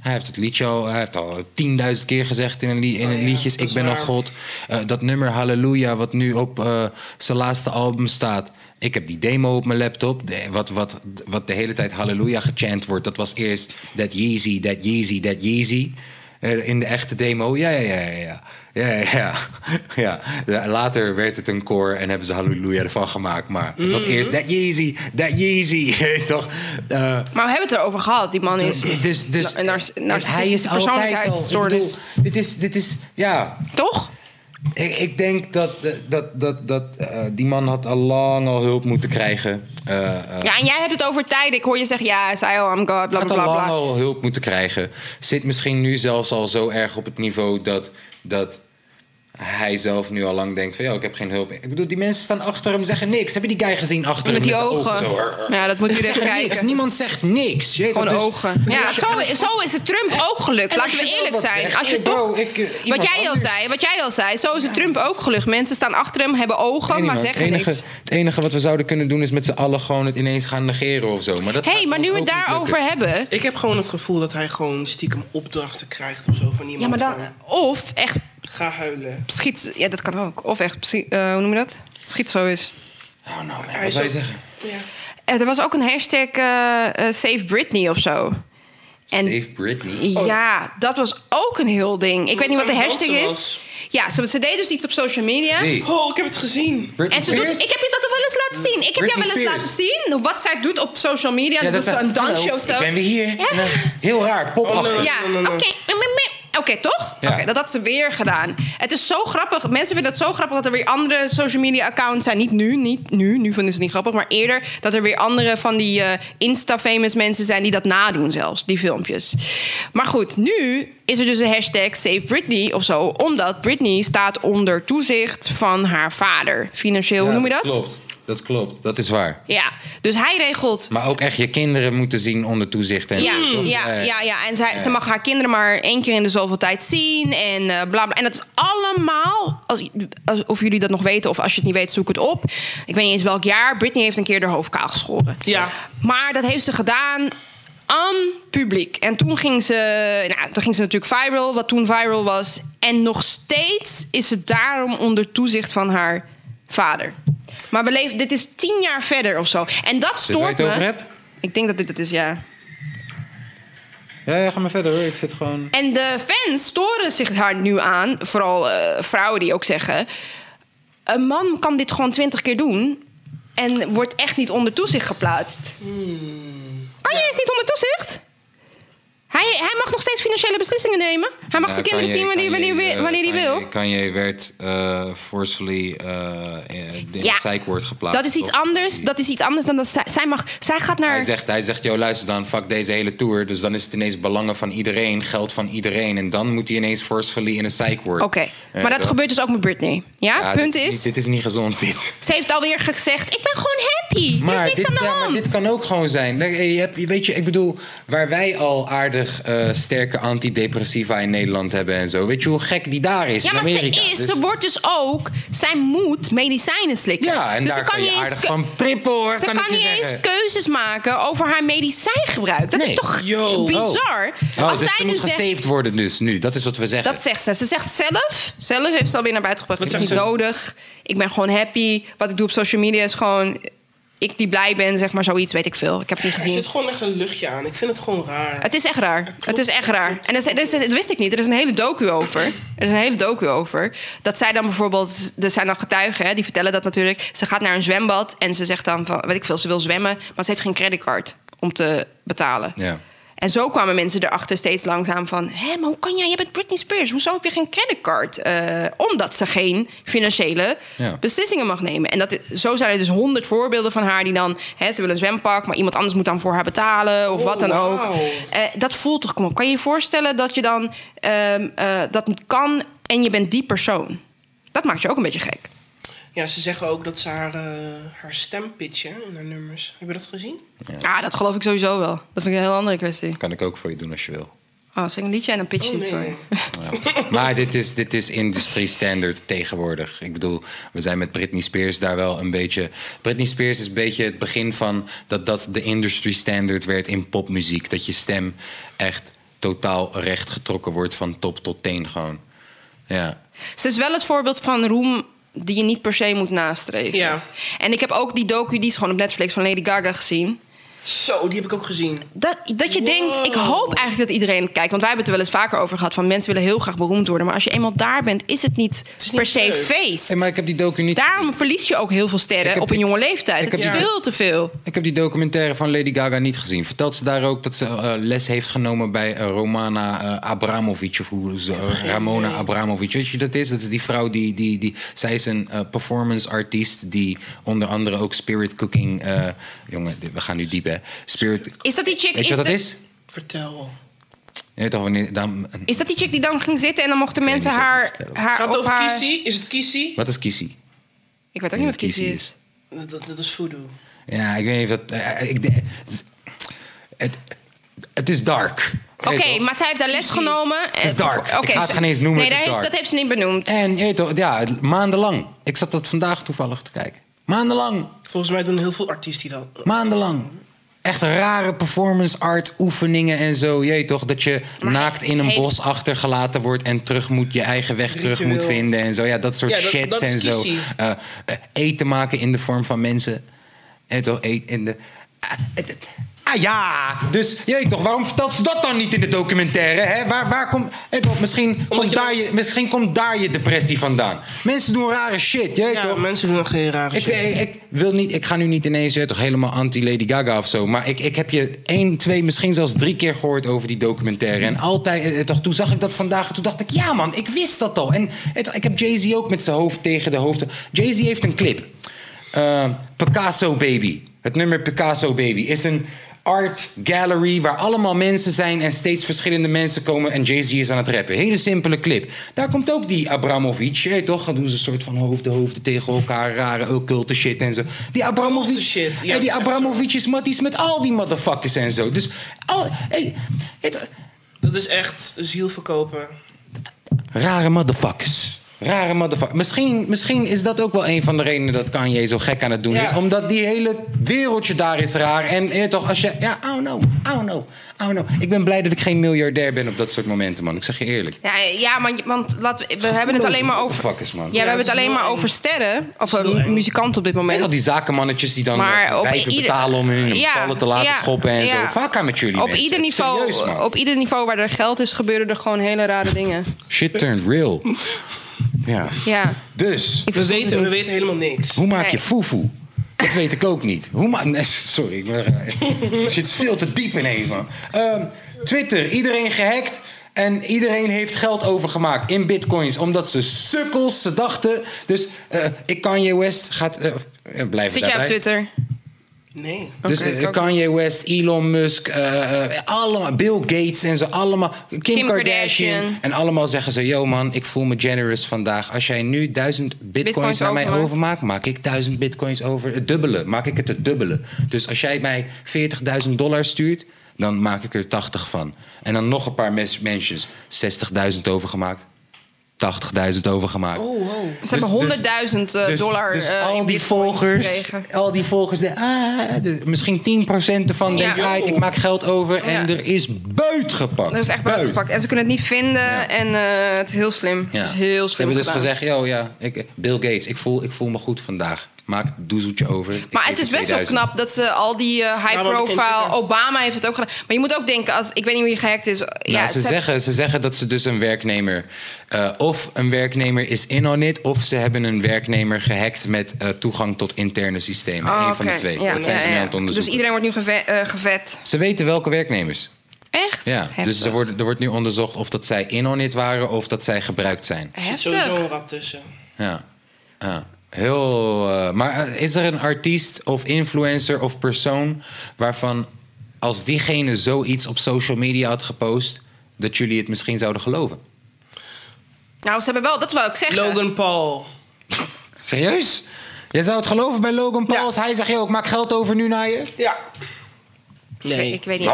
hij heeft het liedje al, hij heeft al tienduizend keer gezegd in, een li- in Oh een ja, eh, liedjes... dat ik is ben een waar. god. Eh, dat nummer Halleluja, wat nu op eh, zijn laatste album staat... Ik heb die demo op mijn laptop, de- wat, wat, wat de hele tijd halleluja gechant wordt. Dat was eerst dat Yeezy, dat Yeezy, dat Yeezy. Eh, in de echte demo, ja, ja, ja, ja, ja. Ja, ja, ja. ja. Ja, Later werd het een koor en hebben ze halleluja ervan gemaakt. Maar het was eerst dat Yeezy, dat Yeezy, toch? Eh, Maar we hebben het erover gehad. Die man is... dus dus een nar- hij is altijd narcistische al... Ik persoonlijkheidsstoornis. bedoel, dit is, dit is, ja... Toch? Ik, ik denk dat, eh, dat, dat, dat eh, die man had al lang al hulp moeten krijgen. Eh, eh, Ja, en jij hebt het over tijden. Ik hoor je zeggen, ja, hij zei al, I'm God, bla, bla, had al bla, lang bla. al hulp moeten krijgen. Zit misschien nu zelfs al zo erg op het niveau dat, dat hij zelf nu al lang denkt van... ja, ik heb geen hulp. Ik bedoel, die mensen staan achter hem, zeggen niks. Hebben die guy gezien achter Met hem? die zijn ogen. zo, rrr, rrr. Ja, dat moet je Ze echt zeggen kijken. niks. Niemand zegt niks. Je weet Gewoon toch, dus- ogen. Ja, zo, zo is het Trump ook gelukt. En Laten als we je wel eerlijk wat zijn. zegt, Als je hey bro, toch, ik, eh, wat, iemand jij al anders. zei, wat jij al zei, zo is het Trump ook gelukt. Mensen staan achter hem, hebben ogen, Nee, maar man. zeggen het enige, niks. Het enige wat we zouden kunnen doen is met z'n allen gewoon het ineens gaan negeren of zo. Maar dat Hé, gaat hey, maar ons nu we ook het niet lukken. daarover hebben... Ik heb gewoon het gevoel dat hij gewoon stiekem opdrachten krijgt of zo van iemand. Ja, maar dan... van, Of echt Ga huilen. schiet... Ja, dat kan ook. Of echt, psy- eh, hoe noem je dat? Schiet zo is. Oh, nou, man, Hij wat is zou je ook- zeggen? Ja. Eh, Er was ook een hashtag eh, eh, Save Britney of zo. En Save Britney. Ja, Oh. dat was ook een heel ding. Ik weet niet wat de zij hashtag dansen is. was. Ja, ze, ze deed dus iets op social media. Nee. Oh, ik heb het gezien. Britney En ze doet, Spears? ik heb je dat al wel eens laten zien. Ik heb jou Britney wel eens Spears. laten zien wat zij doet op social media. Ja, Dan doet dat ze een Hallo, dansje of zo. Ik ben weer hier. En, eh, heel raar, popachtig. Oh, nee. Ja, No, no, oké. no. meh, meh, meh. Oké, toch? Ja. Oké, dat had ze weer gedaan. Het is zo grappig. Mensen vinden het zo grappig dat er weer andere social media accounts zijn. Niet nu, niet nu. Nu vinden ze het niet grappig. Maar eerder dat er weer andere van die eh, Insta-famous mensen zijn die dat nadoen zelfs. Die filmpjes. Maar goed, nu is er dus een hashtag Save Britney of zo. Omdat Britney staat onder toezicht van haar vader. Financieel, hoe Ja, noem je dat? Klopt, dat klopt. Dat is waar. Ja, dus hij regelt Maar ook echt je kinderen moeten zien onder toezicht. En ja, toch? ja, Eh, ja, ja. En zij, ze mag haar kinderen maar één keer in de zoveel tijd zien. En eh, bla bla. En dat is allemaal. Als, als- of jullie dat nog weten, of als je het niet weet, zoek het op. Ik weet niet eens welk jaar. Britney heeft een keer haar hoofd kaal geschoren. Ja. Maar dat heeft ze gedaan aan publiek. En toen ging ze. Nou, toen ging ze natuurlijk viral, wat toen viral was. En nog steeds is ze daarom onder toezicht van haar vader. Maar we leven, dit is tien jaar verder of zo. En Dit dat waar je stoort het me. over hebt? Ik denk dat dit het is, ja. Ja, ja, ga maar verder hoor. Ik zit gewoon... En de fans storen zich daar nu aan. Vooral eh, vrouwen die ook zeggen... Een man kan dit gewoon twintig keer doen. En wordt echt niet onder toezicht geplaatst. Hmm. Kan je eens niet onder toezicht? Hij, hij mag nog steeds financiële beslissingen nemen. Hij mag Ja, zijn kinderen Kanye- zien wanneer, Kanye, wanneer, eh, wanneer hij Kanye- wil. Kanye werd eh, forcefully eh, in in Ja. het zijkwoord geplaatst. Dat is iets toch? anders. Dat is iets anders dan dat zij, zij mag. Zij gaat naar. Hij zegt, hij zegt, joh, luister dan, fuck deze hele tour. Dus dan is het ineens belangen van iedereen, geld van iedereen. En dan moet hij ineens forcefully in een psych worden. Oké, maar dat gebeurt dus ook met Britney. Ja, Ja, punt dit is. niet- dit is niet gezond, dit. Ze heeft alweer gezegd: Ik ben gewoon happy. er is Dus niks dit, aan de ja, maar hand. dit kan ook gewoon zijn. Nee, Je hebt, je weet je, ik bedoel, waar wij al aardig eh, sterke antidepressiva in Nederland hebben en zo. Weet je hoe gek die daar is ja, in maar ze Amerika? is, Dus- ze wordt dus ook, zij moet medicijnen slikken. ja, en dus ze daar kan je niet eens aardig keu- van trippen, hoor. Ze kan, kan, ik je niet eens zeggen. keuzes maken over haar medicijngebruik. Dat is Nee. toch Yo. bizar? Oh, Als dus ze zij nu moet zegt. gesaved worden dus nu. Dat is wat we zeggen. Dat zegt ze. Ze zegt zelf, zelf heeft ze alweer naar buiten gebracht. Het Wat is niet zegt ze? nodig. Ik ben gewoon happy. Wat ik doe op social media is gewoon... Ik die blij ben, zeg maar, zoiets weet ik veel. Ik heb het niet Er gezien. zit gewoon echt een luchtje aan. Ik vind het gewoon raar. Het is echt raar. Het is echt raar. En dat, dat, dat wist ik niet. Er is een hele docu over. Er is een hele docu over. Dat zij dan bijvoorbeeld... Er zijn dan getuigen, hè, die vertellen dat natuurlijk. Ze gaat naar een zwembad en ze zegt dan... Van, weet ik veel, ze wil zwemmen, maar ze heeft geen creditcard om te betalen. Ja. En zo kwamen mensen erachter steeds langzaam van... hé, maar hoe kan jij? Je bent Britney Spears. Hoezo heb je geen creditcard? Eh, omdat ze geen financiële Ja. beslissingen mag nemen. En dat is- zo zijn er dus honderd voorbeelden van haar die dan... Hè, ze wil een zwempak, maar iemand anders moet dan voor haar betalen... of Oh, wat dan ook. wauw. Eh, dat voelt toch, kom op. Kan je je voorstellen dat je dan ehm, eh, dat niet kan... en je bent die persoon? Dat maakt je ook een beetje gek. Ja, ze zeggen ook dat ze haar, eh, haar stem pitchen in haar nummers. Heb je dat gezien? Ja, Ah, dat geloof ik sowieso wel. Dat vind ik een heel andere kwestie. Kan ik ook voor je doen als je wil. Oh, zing een liedje en dan pitch je Oh, het nee, voor nee. je. Ja. Maar dit is, dit is industrie standaard tegenwoordig. Ik bedoel, we zijn met Britney Spears daar wel een beetje. Britney Spears is een beetje het begin van dat dat de industry standard werd in popmuziek. Dat je stem echt totaal recht getrokken wordt van top tot teen gewoon. Ja. Ze is wel het voorbeeld van roem die je niet per se moet nastreven. Ja. En ik heb ook die docu, die is gewoon op Netflix van Lady Gaga gezien. Zo, die heb ik ook gezien. Dat, dat je Wow. denkt, ik hoop eigenlijk dat iedereen het kijkt. Want wij hebben het er wel eens vaker over gehad. Van mensen willen heel graag beroemd worden. Maar als je eenmaal daar bent, is het niet is niet per se leuk. feest. Hey, maar ik heb die docu niet. gezien. Daarom verlies je ook heel veel Ik sterren heb- op een jonge leeftijd. ik Het is heb die- veel te veel. Ik heb die documentaire van Lady Gaga niet gezien. Vertelt ze daar ook dat ze eh, les heeft genomen bij eh, Romana eh, Abramovic? Of hoe ze, eh, Ramona Abramovic. Weet je wie dat is? Dat is die vrouw die. die, die zij is een eh, performance artiest die onder andere ook spirit cooking. eh, jongen, dit- we gaan nu diep hè. Spirit. Is dat die chick, Weet is je wat dat de- is? Vertel. Je weet toch wanneer. Dan, Is dat die chick die dan ging zitten en dan mochten mensen niet zo goed haar, vertellen. haar Gaat het op over haar... Kissy? Is het Kissy? wat is Kissy? Ik weet ook niet wat Kissy is. Dat, dat, dat is voodoo. Ja, ik weet niet of dat. eh, ik, denk- het, het is dark. Oké, Weet je toch? maar zij heeft daar les genomen. Het is dark. Ik ga het geen eens noemen, Nee, het is daar heeft- dark. dat heeft ze niet benoemd. En je weet toch, ja, het- maandenlang. Ik zat dat vandaag toevallig te kijken. Maandenlang, Volgens mij doen heel veel artiesten die dat. maandenlang. Echt rare performance art oefeningen en zo. Je weet toch, dat je naakt in een heeft- bos achtergelaten wordt... en terug moet, je eigen weg terug Ritueel. moet vinden en zo. Ja, dat soort Ja, dat- shits dat is en zo. kiesie. Eh, eh, eten maken in de vorm van mensen. En toch, eet in de... Ah, het- Ah ja, dus je weet toch, waarom vertelt ze dat dan niet in de documentaire? Hè? Waar, waar komt, eh, toch, misschien, komt je dan- daar je, misschien komt daar je depressie vandaan. Mensen doen rare shit, je weet Ja, toch? mensen doen geen rare Ik, shit. ik, ik wil niet, ik ga nu niet ineens eh, toch helemaal anti-Lady Gaga of zo. Maar ik, ik heb je één, twee, misschien zelfs drie keer gehoord over die documentaire. En altijd, eh, toch, toen zag ik dat vandaag. Toen dacht ik, ja man, ik wist dat al. En eh, toch, ik heb Jay-Z ook met zijn hoofd tegen de hoofd. Jay-Z heeft een clip. Eh, Picasso Baby. Het nummer Picasso Baby is een art gallery waar allemaal mensen zijn en steeds verschillende mensen komen en Jay-Z is aan het rappen. Hele simpele clip. Daar komt ook die Abramovic, je weet toch? Dan doen ze een soort van hoofden, hoofden tegen elkaar, rare occulte shit en zo. Die Abramovic, Occulte shit, ja, Eh, die dat is echt Abramovic is matties met al die motherfuckers en zo. Dus, al, hey, het, Dat is echt ziel verkopen. Rare motherfuckers. Rare motherfuckers. Misschien, misschien is dat ook wel een van de redenen dat Kanye zo gek aan het doen Ja. is. Omdat die hele wereldje daar is raar. En eh, toch, als je... Ja, oh no, oh no, oh no. Ik ben blij dat ik geen miljardair ben op dat soort momenten, man. Ik zeg je eerlijk. Ja, ja want, want laten we, we hebben het Gevoelloze alleen maar over. motherfuckers, man. Ja, we Ja, hebben het het is alleen heel maar eng. over sterren. Of Het is heel eh, eng. muzikamenten op dit En al moment. die zakenmannetjes die dan Maar eh, op wijven ieder- betalen om hun Ja, ballen te laten ja, schoppen en ja. zo. Vaak aan met jullie Op mensen. ieder, niveau, Serieus, man. op ieder niveau waar er geld is, gebeuren er gewoon hele rare dingen. Shit turned real. Dus- ja. Ja. Dus, Ik We verstond het weten, we niet. weten helemaal niks. hoe maak Nee. je foefoe? Dat weet ik ook niet. Hoe ma- nee, Sorry, ik ben raar. Er zit veel te diep in één man. Ehm, Twitter, iedereen gehackt. En iedereen heeft geld overgemaakt in bitcoins. Omdat ze sukkels, ze dachten. Dus eh, ik Kanye West gaat... eh, eh, blijven Zit jij op daarbij. Twitter? Nee. Dus Oké, eh, ik ook. Kanye West, Elon Musk, eh, eh, allemaal, Bill Gates en zo, allemaal. Kim, Kardashian. Kardashian. En allemaal zeggen ze: Yo man, ik voel me generous vandaag. Als jij nu duizend bitcoins, Bitcoins naar mij overmaakt. overmaakt, maak ik duizend bitcoins over. Het dubbele, maak ik het het dubbele. Dus als jij mij 40.000 dollar stuurt, dan maak ik er 80 van. En dan nog een paar mes- mensen. 60.000 overgemaakt, 80.000 overgemaakt. Oh, wow. Ze hebben dus- 100.000 eh, Dus- dollar Dus eh, al in die bitcoins volgers, gekregen. al die volgers, de, ah, de- misschien 10% ervan Ja. Oh, denkt, ah, ik maak geld over en Ja. er is buit gepakt. Dat is echt Buit. buitengepakt. En ze kunnen het niet vinden. En eh, het is heel slim. Ja. Het is heel Ze slim hebben dus gedaan. gezegd, yo, ja, ik, Bill Gates, ik voel, ik voel me goed vandaag. Maak het doezeltje over. Ik Maar geef het is je best wel 2000. knap dat ze al die eh, high Waarom geen profile... Twitter? Obama heeft het ook gedaan. Maar je moet ook denken, als, ik weet niet wie gehackt is. Nou, ja, ze, ze hebben- zeggen, ze zeggen dat ze dus een werknemer... eh, of een werknemer is in on it... of ze hebben een werknemer gehackt met eh, toegang tot interne systemen. Oh, Eén van de oké. twee. Ja, dat zijn ja, ze nu ja. aan het onderzoeken. Dus iedereen wordt nu geve- eh, gevet. Ze weten welke werknemers. Echt? Ja, Heftig. dus er wordt, er wordt nu onderzocht of dat zij in on it waren of dat zij gebruikt zijn. Er zit Heftig. sowieso een rat tussen. Ja. ja. Heel. eh, maar eh, is er een artiest of influencer of persoon waarvan als diegene zoiets op social media had gepost, dat jullie het misschien zouden geloven? Nou, ze hebben wel... Dat wil ik zeggen. Logan Paul. Serieus? Jij zou het geloven bij Logan Paul Ja. als hij zegt: joh, ik maak geld over nu naar je? Ja. Nee. Ik weet niet.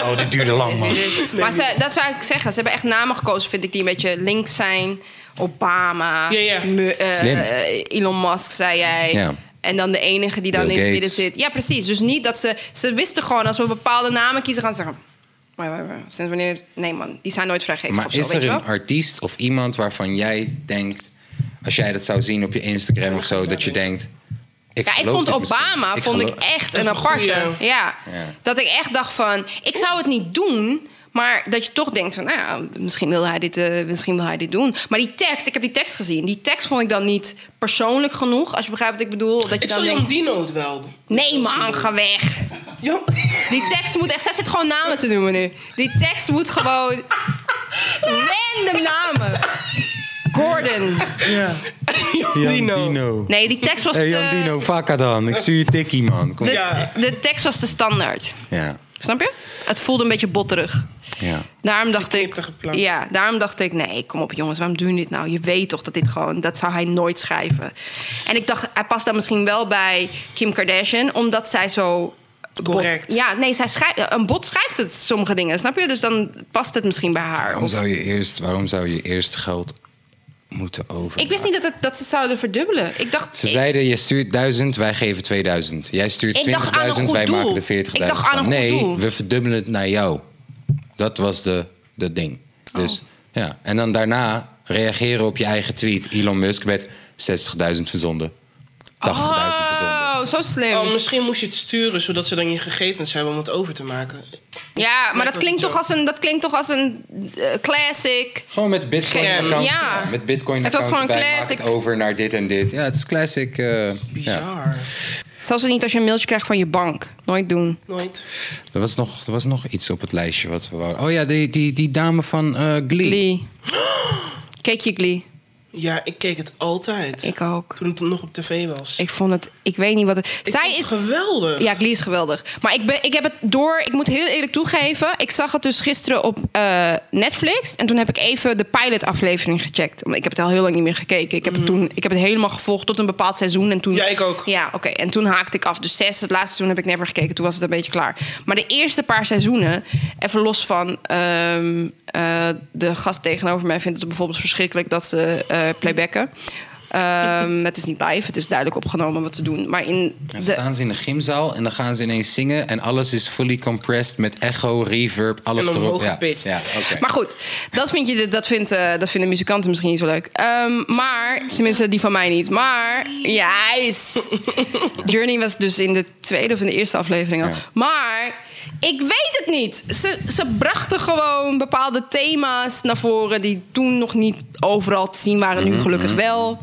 oh, dit duurde lang, man. maar ze, dat zou ik zeggen. Ze hebben echt namen gekozen, vind ik, die een beetje links zijn. Obama, Ja, ja. Mu- eh, Slim. eh, Elon Musk, zei jij. Ja. En dan de enige die dan Bill in het midden Gates. zit. Ja, precies. Dus niet dat ze... Ze wisten gewoon, als we bepaalde namen kiezen, gaan ze zeggen... "Maar, maar, maar, Sinds wanneer... Nee, man. Die zijn nooit vrijgegeven Maar of zo, is weet er je een wel? artiest of iemand waarvan jij denkt, als jij dat zou zien op je Instagram of zo, dat je denkt. Ik Ja, ik geloof vond dit misschien. Obama vond ik geloof- echt is een een aparte. goeie. Ja. Ja. Dat ik echt dacht van, ik zou het niet doen. Maar dat je toch denkt van, nou ja, misschien wil hij dit, eh, misschien wil hij dit doen. Maar die tekst, ik heb die tekst gezien. Die tekst vond ik dan niet persoonlijk genoeg. Als je begrijpt wat ik bedoel. Dat je Ik dan zal Jan denkt, Dino het wel doen. nee man, ga weg. Jan... Die tekst moet echt, zij zit gewoon namen te noemen nu. Die tekst moet gewoon random namen. Gordon. Jan Dino. Nee, die tekst was Hey, te... Jan Dino, vakka dan. Ik stuur je tikkie, man. Kom. Ja. De, de tekst was te standaard. ja. Snap je? Het voelde een beetje botterig. Daarom dacht ik. knipte geplakt. Ja, daarom dacht ik. Nee, kom op jongens, waarom doen je dit nou? Je weet toch dat dit gewoon. Dat zou hij nooit schrijven. En ik dacht, hij past dan misschien wel bij Kim Kardashian, omdat zij zo. bot- Correct. ja, nee, zij schrijft, een bot schrijft het sommige dingen, snap je? Dus dan past het misschien bij haar. Waarom, Of- zou je eerst, waarom zou je eerst geld moeten over? ik wist niet dat, het, dat ze het zouden verdubbelen. Ik dacht. Ze ik- zeiden, je stuurt 1000, wij geven 2000. Jij stuurt Ik dacht aan een 20.000, goed wij doel. maken er 40.000. Ik dacht aan van. een nee, goed doel. we verdubbelen het naar jou. Dat was de, de ding. Oh. Dus, ja. En dan daarna reageren op je eigen tweet, Elon Musk, met 60.000 verzonden. 80.000 verzonden. Oh, zo slim. Oh, misschien moest je het sturen zodat ze dan je gegevens hebben om het over te maken. ja, maar Lijkt dat wel klinkt, zo. toch als een, dat klinkt toch als een eh, classic. Gewoon met bitcoin Scam. account. Ja. Met bitcoin Het was account gewoon een erbij, maak het classic. over naar dit en dit. Ja, het is classic. eh, ja. Bizar. Zelfs niet als je een mailtje krijgt van je bank. Nooit doen. Nooit. Er was, nog, er was nog iets op het lijstje wat we wouden. Oh ja, die, die, die dame van eh, Glee. Glee. Keek je Glee? Ja, ik keek het altijd. Ik ook. Toen het nog op tv was. Ik vond het... Ik weet niet wat het... Ik zij vond het is... geweldig. Ja, Glee is geweldig. Maar ik, ben, ik heb het door... Ik moet heel eerlijk toegeven... Ik zag het dus gisteren op eh, Netflix. En toen heb ik even de pilot aflevering gecheckt. Want ik heb het al heel lang niet meer gekeken. Ik heb, het, toen, ik heb het helemaal gevolgd tot een bepaald seizoen. En toen, Ja, ik Mhm. ook. Ja, oké. En toen haakte ik af. Dus zes, het laatste seizoen heb ik never gekeken. Toen was het een beetje klaar. Maar de eerste paar seizoenen, even los van... ehm, eh, de gast tegenover mij vindt het bijvoorbeeld verschrikkelijk dat ze eh, playbacken. Ehm, het is niet live, het is duidelijk opgenomen wat ze doen. Maar in Dan de, staan ze in een gymzaal en dan gaan ze ineens zingen. En alles is fully compressed met echo, reverb, alles En omhoog erop. Ja, gepitcht. ja oké. Maar goed, dat, vind je, dat, vindt, eh, dat vinden muzikanten misschien niet zo leuk. Ehm, maar, tenminste die van mij niet. Maar, juist. Journey was dus in de tweede of in de eerste aflevering al. Ja. Maar, ik weet het niet. Ze, ze brachten gewoon bepaalde thema's naar voren... die toen nog niet overal te zien waren. Nu gelukkig wel.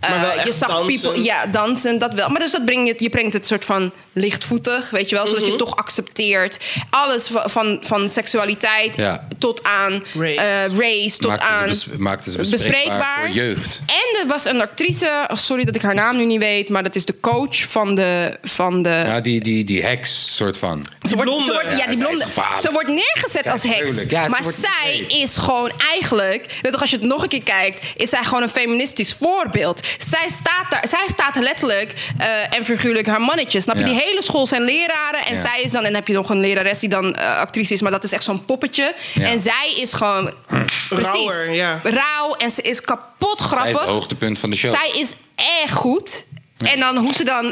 Eh, Maar wel echt je zag people, dansend. ja, dansen, dat wel. Maar dus dat breng je, je brengt het soort van lichtvoetig, weet je wel, zodat je het toch accepteert. Alles va- van, van, seksualiteit Ja. dus- tot aan Race. eh, race, tot maakte aan ze, bes- maakte ze bespreekbaar, voor jeugd. En er was een actrice, oh, sorry dat ik haar naam nu niet weet, maar dat is de coach van de. Van de Ja, die, die, die heks, soort van. ze wordt, blonde. ze wordt, ja, Ja, die zij is blonde. gevaarlijk. Ze wordt neergezet Zij als is heks. gruwelijk. Ja, ze maar wordt- zij nee. is gewoon eigenlijk. Weet toch, als je het nog een keer kijkt, is zij gewoon een feministisch voorbeeld. Zij staat daar. Zij staat letterlijk eh, en figuurlijk haar mannetje. Snap je? Ja. Die hele school zijn leraren. En Ja. zij is dan. En dan heb je nog een lerares die dan eh, actrice is, maar dat is echt zo'n poppetje. Ja. En zij is gewoon. precies, Rauwer, ja. Rauw. En ze is kapot grappig. Zij is het hoogtepunt van de show. Zij is echt goed. En dan hoe ze dan.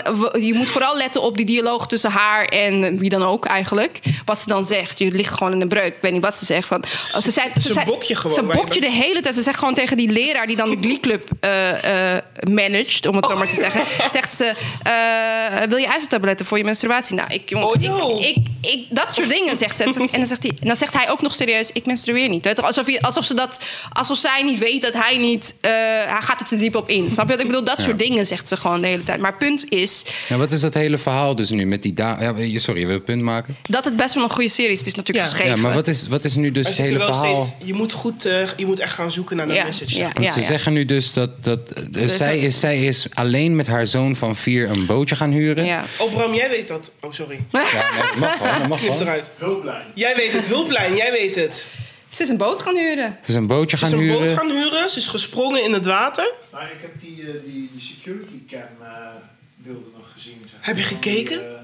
Je moet vooral letten op die dialoog tussen haar en wie dan ook eigenlijk. Wat ze dan zegt. Je ligt gewoon in de breuk. Ik weet niet wat ze zegt. Want ze zei, Ze zei- bok je gewoon, Ze maar je bokt je de hele tijd. Ze zegt gewoon tegen die leraar die dan de Glee Club eh, eh, managed, om het zo maar te Oh. zeggen. Zegt ze: eh, Wil je ijzertabletten voor je menstruatie? Nou, ik, jongen, Oh, joh. ik, ik, ik- dat soort dingen zegt ze. En dan zegt, hij, en dan zegt hij ook nog serieus: Ik menstrueer niet. Weet je, Alsof, je, alsof, ze dat, alsof zij niet weet dat hij niet. eh, hij gaat er te diep op in. Snap je wat ik bedoel? Dat soort dingen zegt ze gewoon de hele tijd. Maar het punt is Ja, wat is dat hele verhaal dus nu met die dame? Ja, je- sorry, wil je een punt maken? dat het best wel een goede serie is. Het is natuurlijk Ja. geschreven. Ja, maar wat is, wat is nu dus Er het zitten hele wel verhaal? steeds- je moet goed, eh, je moet echt gaan zoeken naar de Ja, message. ja. Want ze ja. zeggen nu dus dat, dat eh, zij, dat- is, zij is alleen met haar zoon van vier een bootje gaan huren. Ja. Oh Bram, jij weet dat. Oh sorry. Ja, nee, dat mag wel, dat mag Knip wel. Ze eruit. Hulplijn. Jij weet het. Hulplijn. Jij weet het. Ze is een boot gaan huren. is een bootje Ze is gaan een boot huren. gaan huren. Ze is gesprongen in het water. Maar ik heb die, eh, die, die security cam eh beelden nog gezien. Zeg. Heb je Dan gekeken? die, eh,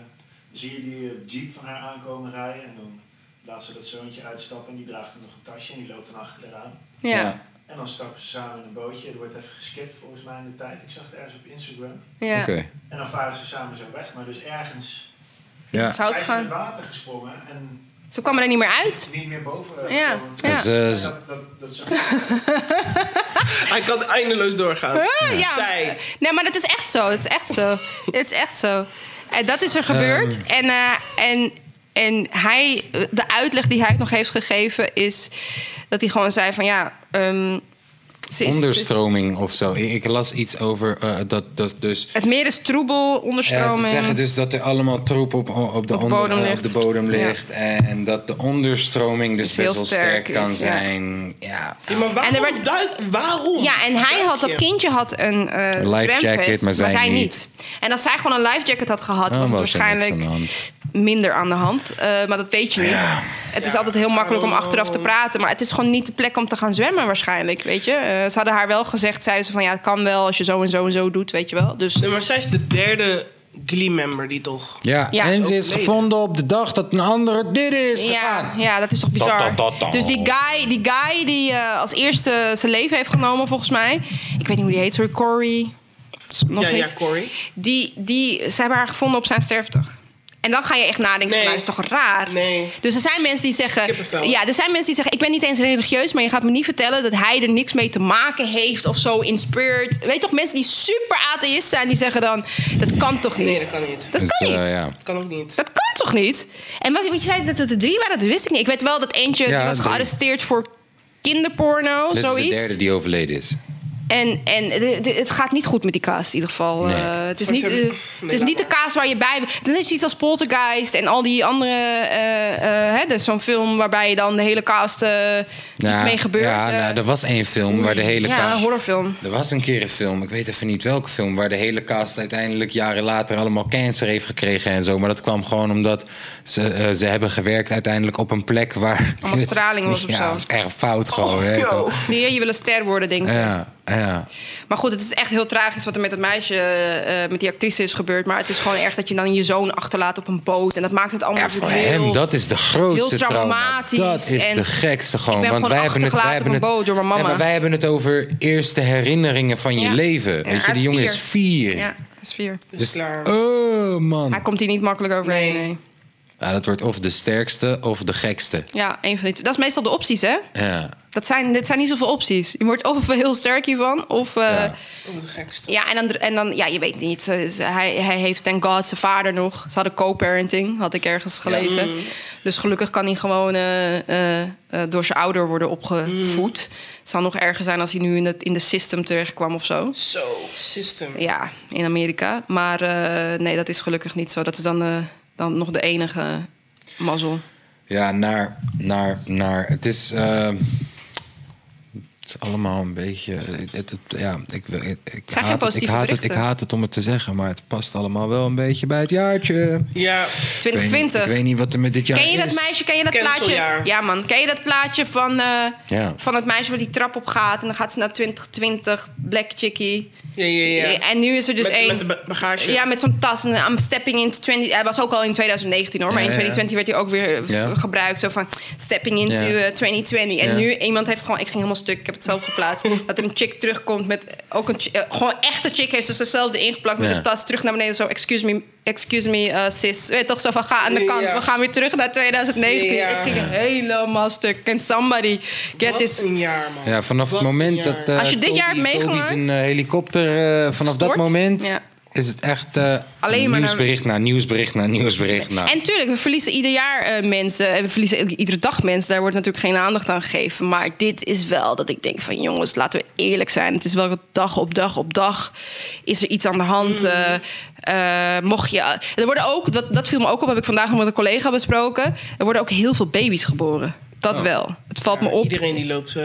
zie je die eh, jeep van haar aankomen rijden en dan laat ze dat zoontje uitstappen en die draagt er nog een tasje en die loopt dan achteraan. Ja. Ja. ja. En dan stappen ze samen in een bootje. Er wordt even geskipt volgens mij in de tijd. Ik zag het ergens op Instagram. Oké. En dan varen ze samen zo weg, maar dus ergens Ja. Fout zijn ze in gaan. het water gesprongen en Ze kwam er niet meer uit. niet meer boven. eh, Ja. gekomen. Ja. Dus, eh, En ze- dat, dat, dat zag Hij kan eindeloos doorgaan. Oh, Ja. Zij. Nee, maar dat is echt zo. Het is echt zo. Het is echt zo. En dat is er gebeurd. Ehm. En, eh, en, en hij, de uitleg die hij nog heeft gegeven is dat hij gewoon zei van ja. ehm, ze is- ze onderstroming of zo. Ik, ik las iets over eh, dat, dat dus. is- het meer is troebel, Ja, ze onderstroming. zeggen dus dat er allemaal troep op, op, de, Op onder- bodem eh, ligt. op de bodem Ja. ligt. En dat de onderstroming dus Is best heel wel sterk, sterk kan is, ja. zijn. Ja. Ja, maar waarom? En er werd- duik- waarom? Ja, en hij duik had, dat Oh, je? kindje had een eh Een life zwemvest, jacket, maar zij niet. En als zij gewoon een life jacket had gehad, Dan was het was er niks aan de waarschijnlijk minder aan de hand. Eh, maar dat weet je niet. Het is Ja, altijd heel makkelijk om daarom- achteraf te praten. Maar het is gewoon niet de plek om te gaan zwemmen waarschijnlijk, weet je. Eh, ze hadden haar wel gezegd, zeiden ze van ja, het kan wel als je zo en zo en zo doet, weet je wel. Dus Nee, maar zij is de derde Glee-member die toch... Ja, Ja. en Ook ze is lelijk. gevonden op de dag dat een andere dit is ja, gedaan. ja, dat is toch bizar. Dat, dat, dat, dat. Dus die guy die, guy die eh, als eerste zijn leven heeft genomen, volgens mij. Ik weet niet hoe die heet, sorry, Corey. Nog ja, ja, niet. Corey. Die, die, ze hebben haar gevonden op zijn sterfdag. En dan ga je echt nadenken, Nee. maar dat is toch raar? Nee. Dus er zijn mensen die Kippenvel. zeggen... Ja, er zijn mensen die zeggen, ik ben niet eens religieus... maar je gaat me niet vertellen dat hij er niks mee te maken heeft... of zo in spirit. Weet je toch, mensen die super atheïst zijn... die zeggen dan, dat kan toch niet? Nee, dat kan niet. Dat kan Dus, eh, niet? ja. Dat kan ook niet. Dat kan toch niet? En wat, wat je zei dat het er drie waren, dat wist ik niet. Ik weet wel dat eentje Ja, die was drie. gearresteerd voor kinderporno, Dit is zoiets. de derde die overleden is. En, en de- de- het gaat niet goed met die kaas in ieder geval. Nee. Eh, het is Straks niet, hebben- Nee, eh, het is laat niet de kaas waar je bij bent. Het is net zoiets als Poltergeist en al die andere... eh, eh, hè, dus zo'n film waarbij je dan de hele cast eh, iets Nou, mee gebeurt. Ja, eh. nou, er was één film waar de hele Ja, cast... een horrorfilm. Er was een keer een film, ik weet even niet welke film... waar de hele cast uiteindelijk jaren later allemaal cancer heeft gekregen en zo. Maar dat kwam gewoon omdat ze, eh, ze hebben gewerkt uiteindelijk op een plek waar... Allemaal straling was of Ja, zo. Oh, dat is erg fout gewoon. hè, yo. toch? Zie je, je wil een ster worden, denk ik. ja, ja. Maar goed, het is echt heel tragisch wat er met dat meisje, eh, met die actrice is gebeurd. Maar het is gewoon erg dat je dan je zoon achterlaat op een boot. En dat maakt het allemaal ja, natuurlijk voor heel... hem, dat is de grootste heel trauma. traumatisch Dat is en de gekste gewoon. ik ben want gewoon wij hebben het, wij achtergelaten hebben het, op een boot door mijn mama. Ja, maar wij hebben het over eerste herinneringen van je Ja. leven. Ja, Weet je, hij die is jongen vier. is vier. Ja, dat is vier. Dus klaar. Oh, man. Hij komt hier niet makkelijk overheen, Nee. nee. Ja, dat wordt of de sterkste of de gekste. Ja, één van die twee. Dat is meestal de opties, hè? Ja. Dat zijn, dit zijn niet zoveel opties. Je wordt of heel sterk hiervan, of... eh, Ja. ja. Oh, het gekste. en dan, en dan, ja, je weet niet. Ze- ze- Hij, hij heeft, thank god, zijn vader nog. Ze hadden co-parenting, had ik ergens gelezen. Dus gelukkig kan hij gewoon eh, eh, eh, door zijn ouder worden opgevoed. Het zou nog erger zijn als hij nu in, het, in de system terecht kwam of zo. Zo, system. Ja, in Amerika. Maar eh, nee, dat is gelukkig niet zo. Dat is dan, eh, dan nog de enige mazzel. Ja, naar, naar, naar. Het is, eh, het is allemaal een beetje. Het, het- het- ja, ik, wil- ik, ik, zijn geen haat het, ik, positieve haat het, ik berichten. haat het om het te zeggen, maar het past allemaal wel een beetje bij het jaartje. Ja, Ik weet, niet, 2020. ik weet niet wat er met dit jaar Ken je dat is. meisje? Ken je dat plaatje? Canceljaar. Ja, man. Ken je dat plaatje van, eh, Ja. van het meisje wat die trap op gaat en dan gaat ze naar 2020, Black Chickie. ja, ja. ja. En nu is er dus met, één. met de ba- bagage. ja, met zo'n tas. En eh, I'm stepping into 20... Hij was ook al in 2019 hoor. Maar Ja, in ja. 2020 werd hij ook weer v- Ja. gebruikt. Zo van stepping into Ja. eh, 2020. En Ja. nu iemand heeft gewoon... Ik ging helemaal stuk. Ik heb het zelf geplaatst. dat er een chick terugkomt met... Ook een chi- eh, gewoon echte chick heeft ze zichzelf erin geplakt. Met Ja. de tas terug naar beneden. Zo, excuse me, excuse me eh, sis. Weet je toch zo van, ga aan de Ja. kant. We gaan weer terug naar 2019. Ja. Ik ging helemaal stuk. Can somebody get Wat this... Ah, een jaar, man. Ja, vanaf Wat het moment een dat. jaar. eh, Als je dit Kobe- jaar hebt Kobe meegemaakt- zijn eh, helikopter, eh, vanaf dat Stort. moment Ja. is het echt eh, Alleen maar nieuwsbericht na nieuwsbericht na nieuwsbericht. Na. En tuurlijk, we verliezen ieder jaar eh, mensen. En we verliezen i- iedere dag mensen. Daar wordt natuurlijk geen aandacht aan gegeven. Maar dit is wel dat ik denk van... jongens, laten we eerlijk zijn. Het is wel dat dag op dag op dag... is er iets aan de hand. Hmm. Eh, eh, mocht je... Er worden ook, dat, dat viel me ook op, heb ik vandaag nog met een collega besproken. Er worden ook heel veel baby's geboren. Dat wel. Het valt me Ja, op. Iedereen die loopt eh,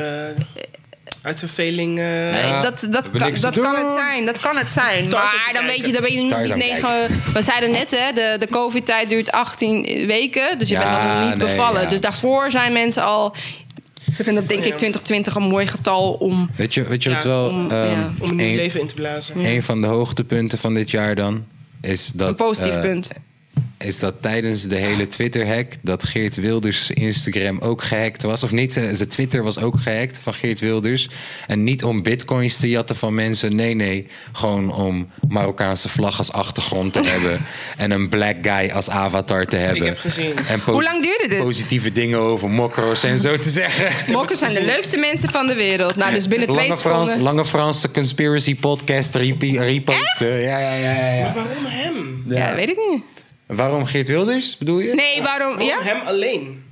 uit verveling. eh, Ja, dat we dat, hebben kan, niks dat te kan doen. het zijn, dat kan het zijn. Thuis aan Maar te dan weet je, kijken. dan ben je nog Thuis niet aan te negen... We zeiden net, hè, de, de covid-tijd duurt 18 weken. Dus je Ja, bent nog niet nee, bevallen. ja. Dus daarvoor zijn mensen al... Ze vinden dat denk ik 2020 een mooi getal om... Weet je, weet je wat Ja, wel? om- ehm, ja. Om een nieuw één- leven in te blazen. Een van de hoogtepunten van dit jaar dan is dat. een positief eh, punt. Is dat tijdens de hele Twitter-hack dat Geert Wilders Instagram ook gehackt was? Of niet? eh, Zijn Twitter was ook gehackt van Geert Wilders. En niet om bitcoins te jatten van mensen. Nee, nee. Gewoon om Marokkaanse vlag als achtergrond te hebben. En een black guy als avatar te hebben. heb gezien. En posi- Hoe lang duurde dit? Positieve dingen over mokro's en zo te zeggen. Mokken zijn de leukste mensen van de wereld. Nou, dus binnen twee Lange, Frans, seconden... Lange Franse conspiracy podcast repi- reposten. Ja, ja, ja, ja, ja. Maar waarom hem? Ja, weet ik niet. Waarom Geert Wilders, bedoel je? Nee, waarom... Waarom Ja? hem alleen?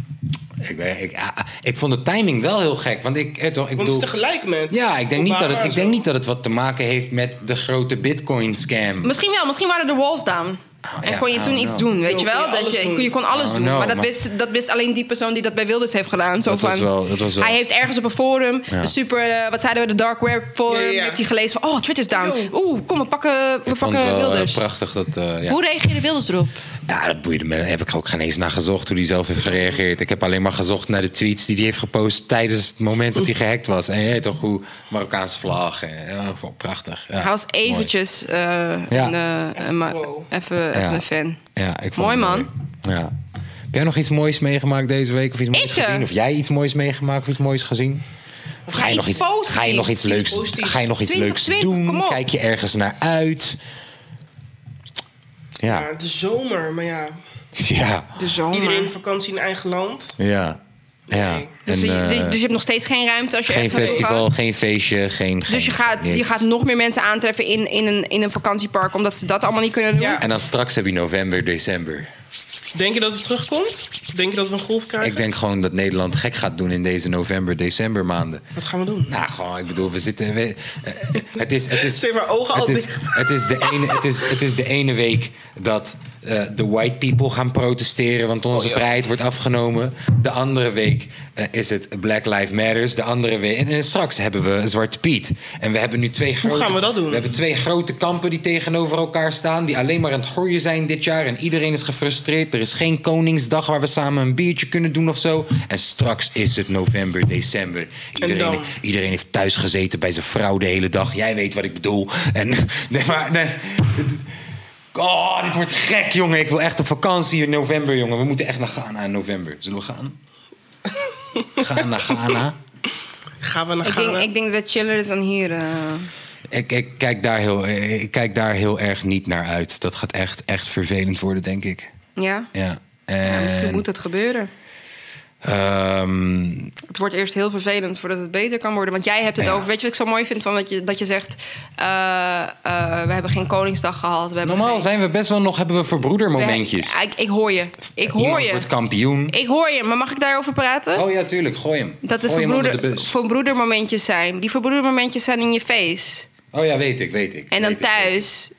Ik, weet- ik, ah, ik vond de timing wel heel gek. Want ik, eh, toch, ik Want het bedoel... is tegelijk met. Ja, ik denk, niet dat Obama het, en ik zo. denk niet dat het wat te maken heeft met de grote bitcoin scam. Misschien wel, misschien waren de walls down. en ja, kon je I toen don't iets know. doen, weet Je je kon wel? alles Dat doen. je, je kon alles I doen. don't know, maar dat, maar- wist, dat wist alleen die persoon die dat bij Wilders heeft gedaan. Zo Dat van, was wel- dat was wel- Hij heeft ergens op een forum, Ja. een super, eh, wat zeiden we, de dark web forum. Ja, ja, ja. Heeft hij gelezen van, oh, Twitter is down. Yo. Oeh, kom, we pakken, we ik vond het pakken wel eh, Wilders. prachtig dat... eh, ja. Hoe reageerde Wilders erop? ja, dat boeide me. Daar heb ik ook geen eens naar gezocht hoe hij zelf heeft gereageerd. Ik heb alleen maar gezocht naar de tweets die hij heeft gepost... tijdens het moment dat hij gehackt was. En je weet toch hoe Marokkaanse vlag. En, ja, ik vond het prachtig. Ja, hij was mooi. eventjes eh, een, eh, een ma- wow. even, even een fan. Ja, ik vond Mooi, het man. Ja. Heb jij nog iets moois meegemaakt deze week? Of iets moois Ik, eh, gezien? Of jij iets moois meegemaakt of iets moois gezien? Of ga je, iets nog iets, positiefs. ga je nog iets Iets leuks, positiefs. ga je nog iets 20, leuks 20, kom doen? op. Kijk je ergens naar uit? Ja. Ja, de zomer, maar ja. Ja. De zomer. Iedereen vakantie in eigen land. Ja. ja. Nee. dus, En, je, eh, dus je hebt nog steeds geen ruimte als je geen echt naar binnen gaat? festival, geen feestje, geen... geen Dus je gaat, je niks. gaat nog meer mensen aantreffen in, in, een, in een vakantiepark, omdat ze dat allemaal niet kunnen doen. Ja. En dan straks heb je november, december. Denk je dat het terugkomt? Denk je dat we een golf krijgen? Ik denk gewoon dat Nederland gek gaat doen in deze november, december maanden. Wat gaan we doen? Nou, gewoon, ik bedoel, we zitten. we- eh, het is. Het is Steek maar ogen al het is, dicht. het is de ene, het is, het is de ene week dat eh, de white people gaan protesteren, want Oh, onze vrijheid wordt afgenomen. De andere week eh, is het Black Lives Matters. De andere week. En, en straks hebben we Zwarte Piet. En we hebben nu twee grote. gaan we dat doen? We hebben twee grote kampen die tegenover elkaar staan, die alleen maar aan het groeien zijn dit jaar. En iedereen is gefrustreerd. Er is geen Koningsdag waar we samen een biertje kunnen doen of zo. En straks is het november, december. Iedereen, dan? Iedereen heeft thuis gezeten bij zijn vrouw de hele dag. Jij weet wat ik bedoel. En, nee, maar, nee. Oh, dit wordt gek, jongen. Ik wil echt op vakantie in november, jongen. We moeten echt naar Ghana in november. Zullen we gaan? Gaan naar Ghana. Gaan we naar Ik, denk, Ghana? ik denk dat chiller is dan hier. eh. Ik, ik, kijk daar heel, eh, ik kijk daar heel erg niet naar uit. Dat gaat echt, echt vervelend worden, denk ik. ja? Ja. Ja, Nou, misschien En, moet het gebeuren. ehm, Het wordt eerst heel vervelend voordat het beter kan worden. Want jij hebt het Ja. over. Weet je wat ik zo mooi vind? Van dat, je, dat je zegt. eh, eh, we hebben geen Koningsdag gehad. We hebben normaal geen- zijn we best wel nog, hebben we we- verbroedermomentjes. Ja, ik, ik hoor je. Ik hoor Iemand je. wordt kampioen. Ik hoor je, maar mag ik daarover praten? Oh ja, tuurlijk, gooi hem. Dat er gooi hem onder verbroeder, de bus. verbroedermomentjes zijn. Die verbroedermomentjes zijn in je face. Oh ja, weet ik, weet ik. En dan weet ik, weet ik. thuis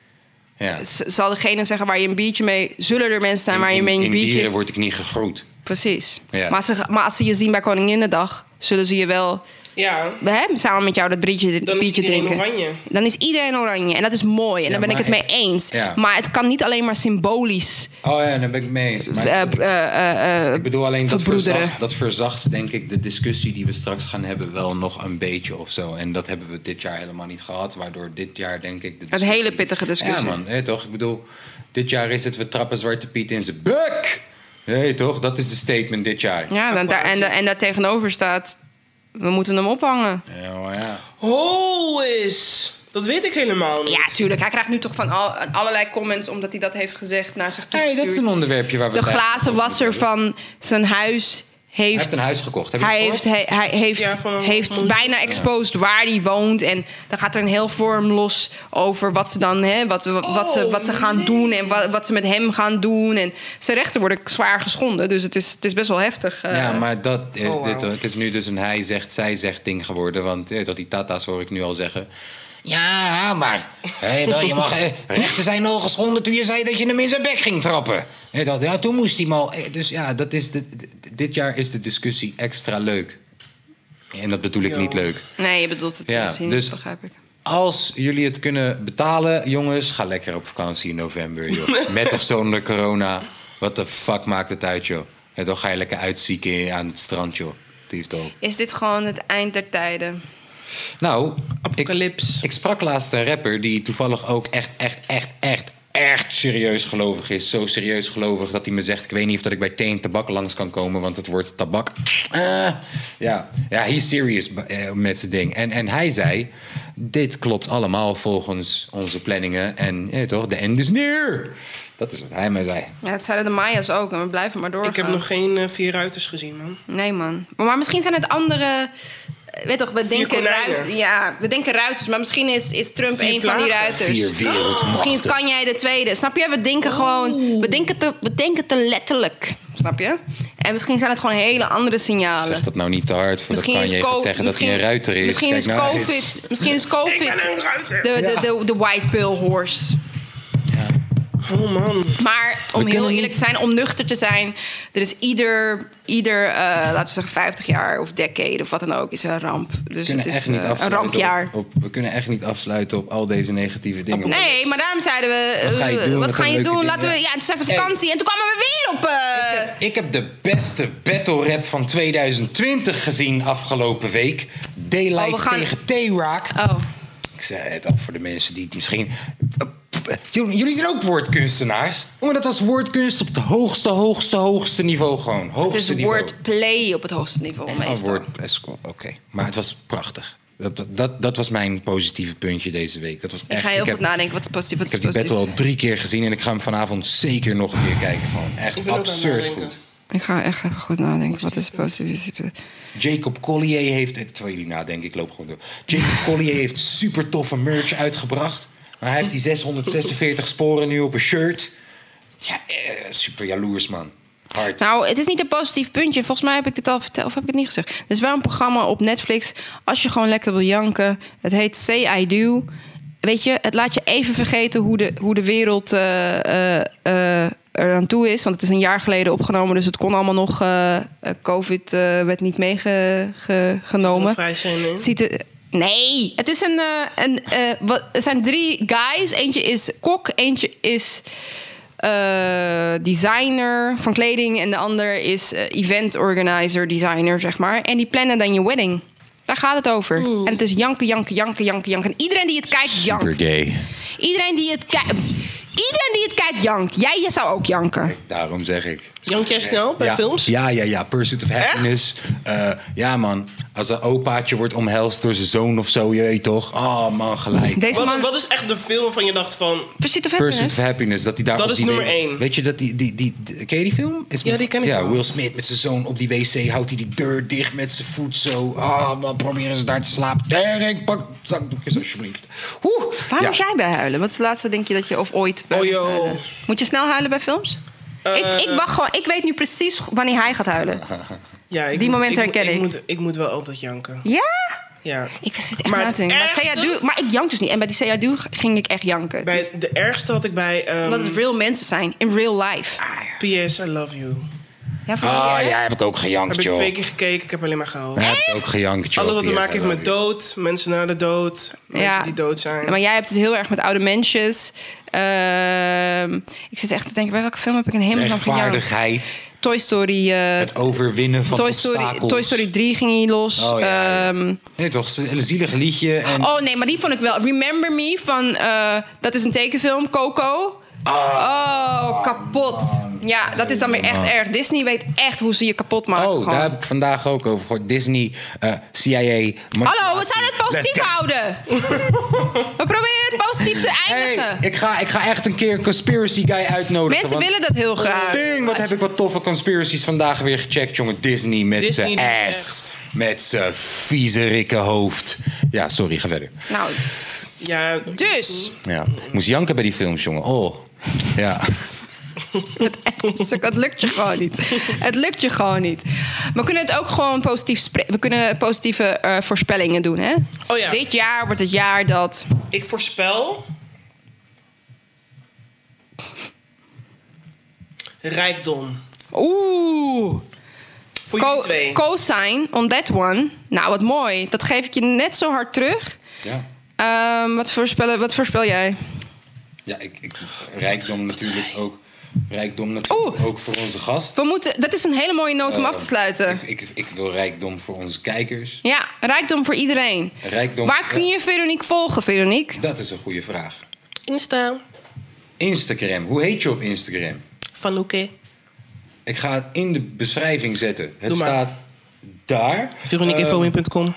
Ja. z- zal degene zeggen waar je een biertje mee... Zullen er mensen zijn waar je in, mee in, een in biertje... dieren word ik niet gegroet. Precies. Ja. Maar, als ze, maar als ze je zien bij Koninginnedag... zullen ze je wel Ja, hè, samen met jou dat biertje, dan is biertje iedereen drinken. oranje. Dan is iedereen oranje. En dat is mooi. En Ja, daar ben ik maar het mee het- eens. ja. Maar het kan niet alleen maar symbolisch... Oh ja, daar ben ik het mee eens. Maar eh, ik- eh, eh, eh, ik bedoel alleen dat verbroederen. verzacht, dat verzacht, denk ik, de discussie die we straks gaan hebben, wel nog een beetje of zo. En dat hebben we dit jaar helemaal niet gehad. Waardoor dit jaar, denk ik. De Een discussie- hele pittige discussie. Ja, man, hé, toch? Ik bedoel, dit jaar is het we trappen Zwarte Piet in zijn bek. Hé, toch? Dat is de statement dit jaar. ja, dan, daar, en, da- en daar tegenover staat... we moeten hem ophangen. Ja, maar ja. Ho is. Dat weet ik helemaal niet. Ja, tuurlijk. Hij krijgt nu toch van al, allerlei comments omdat hij dat heeft gezegd naar zich toe. Hey, dat is een onderwerpje waar we De het eigenlijk glazen over wasser moeten hebben. van zijn huis heeft. Hij heeft een huis gekocht. Heb je Hij dat heeft, gehoord? hij, hij heeft, Ja, van- heeft van- bijna exposed waar hij woont. En dan gaat er een heel vorm los over wat ze dan, hè, wat, wat, wat Oh, ze, wat ze gaan doen en wat, wat ze met hem gaan doen. En zijn rechten worden zwaar geschonden. Dus het is, het is best wel heftig. eh. Ja, maar dat, eh, Oh, dit, wauw. het is nu dus een hij zegt, zij zegt ding geworden. Want eh, dat die tata's hoor ik nu al zeggen. Ja, maar hè, dat, je mag, eh, rechten zijn al geschonden toen je zei dat je hem in zijn bek ging trappen. Hè, dat, ja, toen moest hij maar. dus ja, dat is de, d- dit jaar is de discussie extra leuk. En dat bedoel ik niet leuk. Nee, je bedoelt het Ja, ja, zien, dus- dat begrijp ik. Als jullie het kunnen betalen, jongens, ga lekker op vakantie in november, joh. Met of zonder corona. Wat de fuck maakt het uit, joh? En dan ga je lekker uitzieken aan het strand, joh. Tiefdol. Is dit gewoon het eind der tijden? Nou, ik, Apocalypse. ik sprak laatst een rapper die toevallig ook echt, echt, echt, echt, echt serieus gelovig is. Zo serieus gelovig dat hij me zegt: Ik weet niet of dat ik bij Teen Tabak langs kan komen, want het wordt tabak. Ah, ja, ja, he's serious eh, met zijn ding. En, en hij zei: Dit klopt allemaal volgens onze planningen. En eh, toch, de end is near. Dat is wat hij mij zei. Ja, dat zeiden de Maya's ook en we blijven maar doorgaan. Ik heb nog geen eh, vier ruiters gezien, man. Nee, man. Maar, maar misschien zijn het andere. eh, Weet toch, we denken konijnen. ruiters. Ja, we denken ruiters, maar misschien is, is Trump Vier een van die plagen. ruiters. Vier Misschien is wereldmachten. Kanye de tweede. Snap je? We denken gewoon. We denken, te, we denken te letterlijk. Snap je? En misschien zijn het gewoon hele andere signalen. Zeg dat nou niet te hard, voordat Oh. Misschien Kanye co- gaat zeggen dat hij een ruiter is. Misschien Kijk is nou eens. COVID. Misschien is COVID. ben een ruiter. De, de, de, de white pill horse. Oh man. Maar om We heel kunnen eerlijk te zijn, om nuchter te zijn, er is ieder, ieder eh, laten we zeggen 50 jaar of decade of wat dan ook, is een ramp. Dus het kunnen is echt niet eh, een afsluiten rampjaar. Op, op- we kunnen echt niet afsluiten op al deze negatieve dingen. Nee, maar daarom zeiden we, eh, Wat ga je doen? wat Wat ga een je leuke doen? ding, Laten we, ja. ja, toen zijn ze Hey. vakantie en toen kwamen we weer op. eh, Ik heb de beste battle rap van 2020 gezien afgelopen week. Daylight Oh, we gaan- tegen T-Rock. Oh, Ik zeg het al voor de mensen die het misschien... Jullie jullie zijn ook woordkunstenaars. Jongen, dat was woordkunst op het hoogste, hoogste, hoogste niveau gewoon. het is Hoogste niveau. wordplay op het hoogste niveau Oh, meestal. wordpress, oké. Maar het was prachtig. Dat, dat- dat, dat was mijn positieve puntje deze week. Dat was echt, Ik ga heel heb- goed nadenken, wat is positief, wat Ik is heb die battle positief. al drie keer gezien en ik ga hem vanavond zeker nog een keer kijken. Gewoon Ik echt ben ook aan het absurd nadenken. goed. Ik ga echt even goed nadenken, wat is positief. Jacob Collier heeft, eh, terwijl jullie nadenken, ik loop gewoon door. Jacob Collier heeft super toffe merch uitgebracht. Maar hij heeft die 646 sporen nu op een shirt. Ja, eh, super jaloers man. Hard. Nou, het is niet een positief puntje. Volgens mij heb ik dit al verteld, of heb ik het niet gezegd? Er is wel een programma op Netflix. Als je gewoon lekker wil janken. Het heet Say I Do. Weet je, het laat je even vergeten hoe de, hoe de wereld eh, eh, eh, er aan toe is. Want het is een jaar geleden opgenomen, dus het kon allemaal nog. eh, eh, Covid eh, werd niet meegenomen. Vrij zijn, hè? Het ziet er- Nee, het is een. eh, een eh, wat, er zijn drie guys. Eentje is kok, eentje is eh, designer van kleding. En de ander is eh, event organizer, designer, zeg maar. En die plannen dan je wedding. Daar gaat het over. En het is janken, janken, janken, janken, janken. En iedereen die het kijkt, super jankt. gay. Iedereen die het kijkt. Iedereen die het kijkt, jankt. Jij je zou ook janken. Daarom zeg ik. Jank jij snel bij ja. films? Ja, ja, ja. Pursuit of Happiness. Eh, ja, man. Als een opaatje wordt omhelst door zijn zoon of zo, je weet toch? Oh, man, gelijk. Deze Wat, man... wat is echt de film waarvan je dacht van... Pursuit of Pursuit Happiness. of Happiness, dat hij daar Dat op is die nummer we- één. Weet je dat die, die, die, die- ken je die film? Is Ja, die ken ik Ja, wel. Will Smith met zijn zoon op die wc houdt hij die deur dicht met zijn voet zo. Ah, man, proberen ze daar te slapen. Derek, pak zakdoekjes alsjeblieft. Oeh. Waar ja. moest jij bij huilen? Wat is het laatste denk je dat je of ooit bij Oh, Eh. moest joh. huilen? Moet je snel huilen bij films? ik, ik wacht gewoon. Ik weet nu precies wanneer hij gaat huilen. Ja, ik Die moet- momenten ik, herken ik. ik. Moet, ik moet wel altijd janken. Ja? Ja. Ik zit echt Maar maar na het te denken. Maar, ergste- Seydou- maar ik jank dus niet. En bij die Seadu ging ik echt janken. Dus- Bij de ergste had ik bij ehm, omdat het real mensen zijn. In real life. PS I Love You. Ja, vond je Ah, het erg? ja, heb ik ook gejankt, Heb ik joh. twee keer gekeken, ik heb alleen maar gehuild. Ja, heb ik ook gejankt, joh. Alles wat te Ja, maken heeft ja, met ja. dood, mensen na de dood, mensen die dood zijn. Ja, maar jij hebt het heel erg met oude mensjes. Ehm, ik zit echt te denken, bij welke film heb ik een helemaal van gejankt? Rechtvaardigheid, Toy Story... eh, het overwinnen van Toy Story, obstakels. Toy Story 3 ging hier los. Oh, ja, ja. Ehm, Nee, toch? Een zielig liedje. En... Oh nee, maar die vond ik wel. Remember Me van, eh, dat is een tekenfilm, Coco. Ah. Oh, kapot. Ja, dat is dan weer echt erg. Disney weet echt hoe ze je kapot maken. Oh, gewoon. daar heb ik vandaag ook over gehoord. Disney, eh, CIA. Hallo, manipulatie. we zouden het positief Let's go. houden. we proberen het positief te eindigen. Hey, ik, ga, ik ga echt een keer een conspiracy guy uitnodigen. Mensen want- willen dat heel graag. Ding, wat heb ik wat toffe conspiracies vandaag weer gecheckt, jongen. Disney met Disney zijn doet het ass. echt. Met zijn vieze rikke hoofd. Ja, sorry, ga verder. Nou, Ja, dus. Ja. Moest janken bij die films, jongen. Oh. Ja. Stuk, het lukt je gewoon niet. Het lukt je gewoon niet. We kunnen het ook gewoon positief spre- We kunnen positieve eh, voorspellingen doen, hè? Oh ja. Dit jaar wordt het jaar dat... ik voorspel... Rijkdom. Oeh. Voor Co- jullie twee. Co-sign on that one. Nou, wat mooi. Dat geef ik je net zo hard terug. Ja. Ehm, wat, voorspellen, wat voorspel jij? Ja, ik, ik, rijkdom natuurlijk ook. Rijkdom Oeh. ook voor onze gast. We moeten, dat is een hele mooie noot om Eh, af te sluiten. Ik, ik, ik wil rijkdom voor onze kijkers. Ja, rijkdom voor iedereen. Rijkdom. Waar kun je Veronique volgen, Veronique? Dat is een goede vraag. Insta. Instagram. Hoe heet je op Instagram? Van Hoeke. Ik ga het in de beschrijving zetten. Het Doe maar. staat daar. VeroniqueInfoWin.com.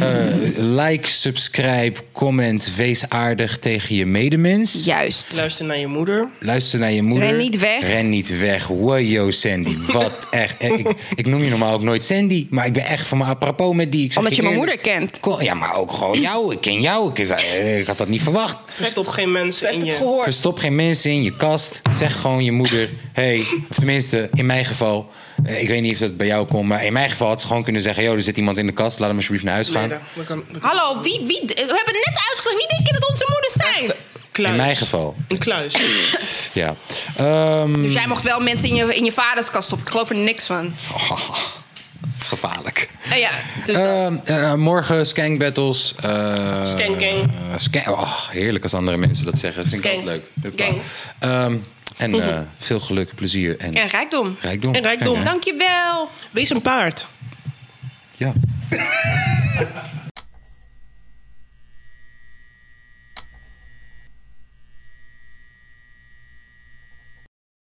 Eh, like, subscribe, comment. Wees aardig tegen je medemens. Juist. Luister naar je moeder. Luister naar je moeder. Ren niet weg. Ren niet weg. Wojo, Sandy. Wat echt. Eh, Ik, ik noem je normaal ook nooit Sandy. Maar ik ben echt van mijn apropos met die. Ik zeg Omdat je mijn eerlijk. moeder kent. Ko- Ja, maar ook gewoon jou. Ik ken jou. Ik, is- eh, ik had dat niet verwacht. Verstop geen mensen in je... gehoord. Verstop geen mensen in je kast. Zeg gewoon je moeder. Hey, of tenminste, in mijn geval. eh, Ik weet niet of dat bij jou komt, maar in mijn geval had ze gewoon kunnen zeggen: Yo, er zit iemand in de kast, laat hem alsjeblieft naar huis gaan. Nee, dat- dat kan- dat kan- Hallo, wie, wie, we hebben net uitgelegd. Wie denk je dat onze moeders zijn? Kluis. In mijn geval, Een kluis. ja. Ehm, Dus jij mag wel mensen in je, in je vaders kast stoppen. Ik geloof er niks van. gevaarlijk. Eh, ja, dus dat. Ehm, eh, morgen skank battles. eh, Skanking. eh, skank- oh, heerlijk als andere mensen dat zeggen. Dat vind ik Skank. altijd leuk. Huppa. Gang. Ehm, en eh, veel geluk, plezier en En rijkdom. rijkdom. En rijkdom. Skank, hè? Dankjewel. Wees een paard. Ja.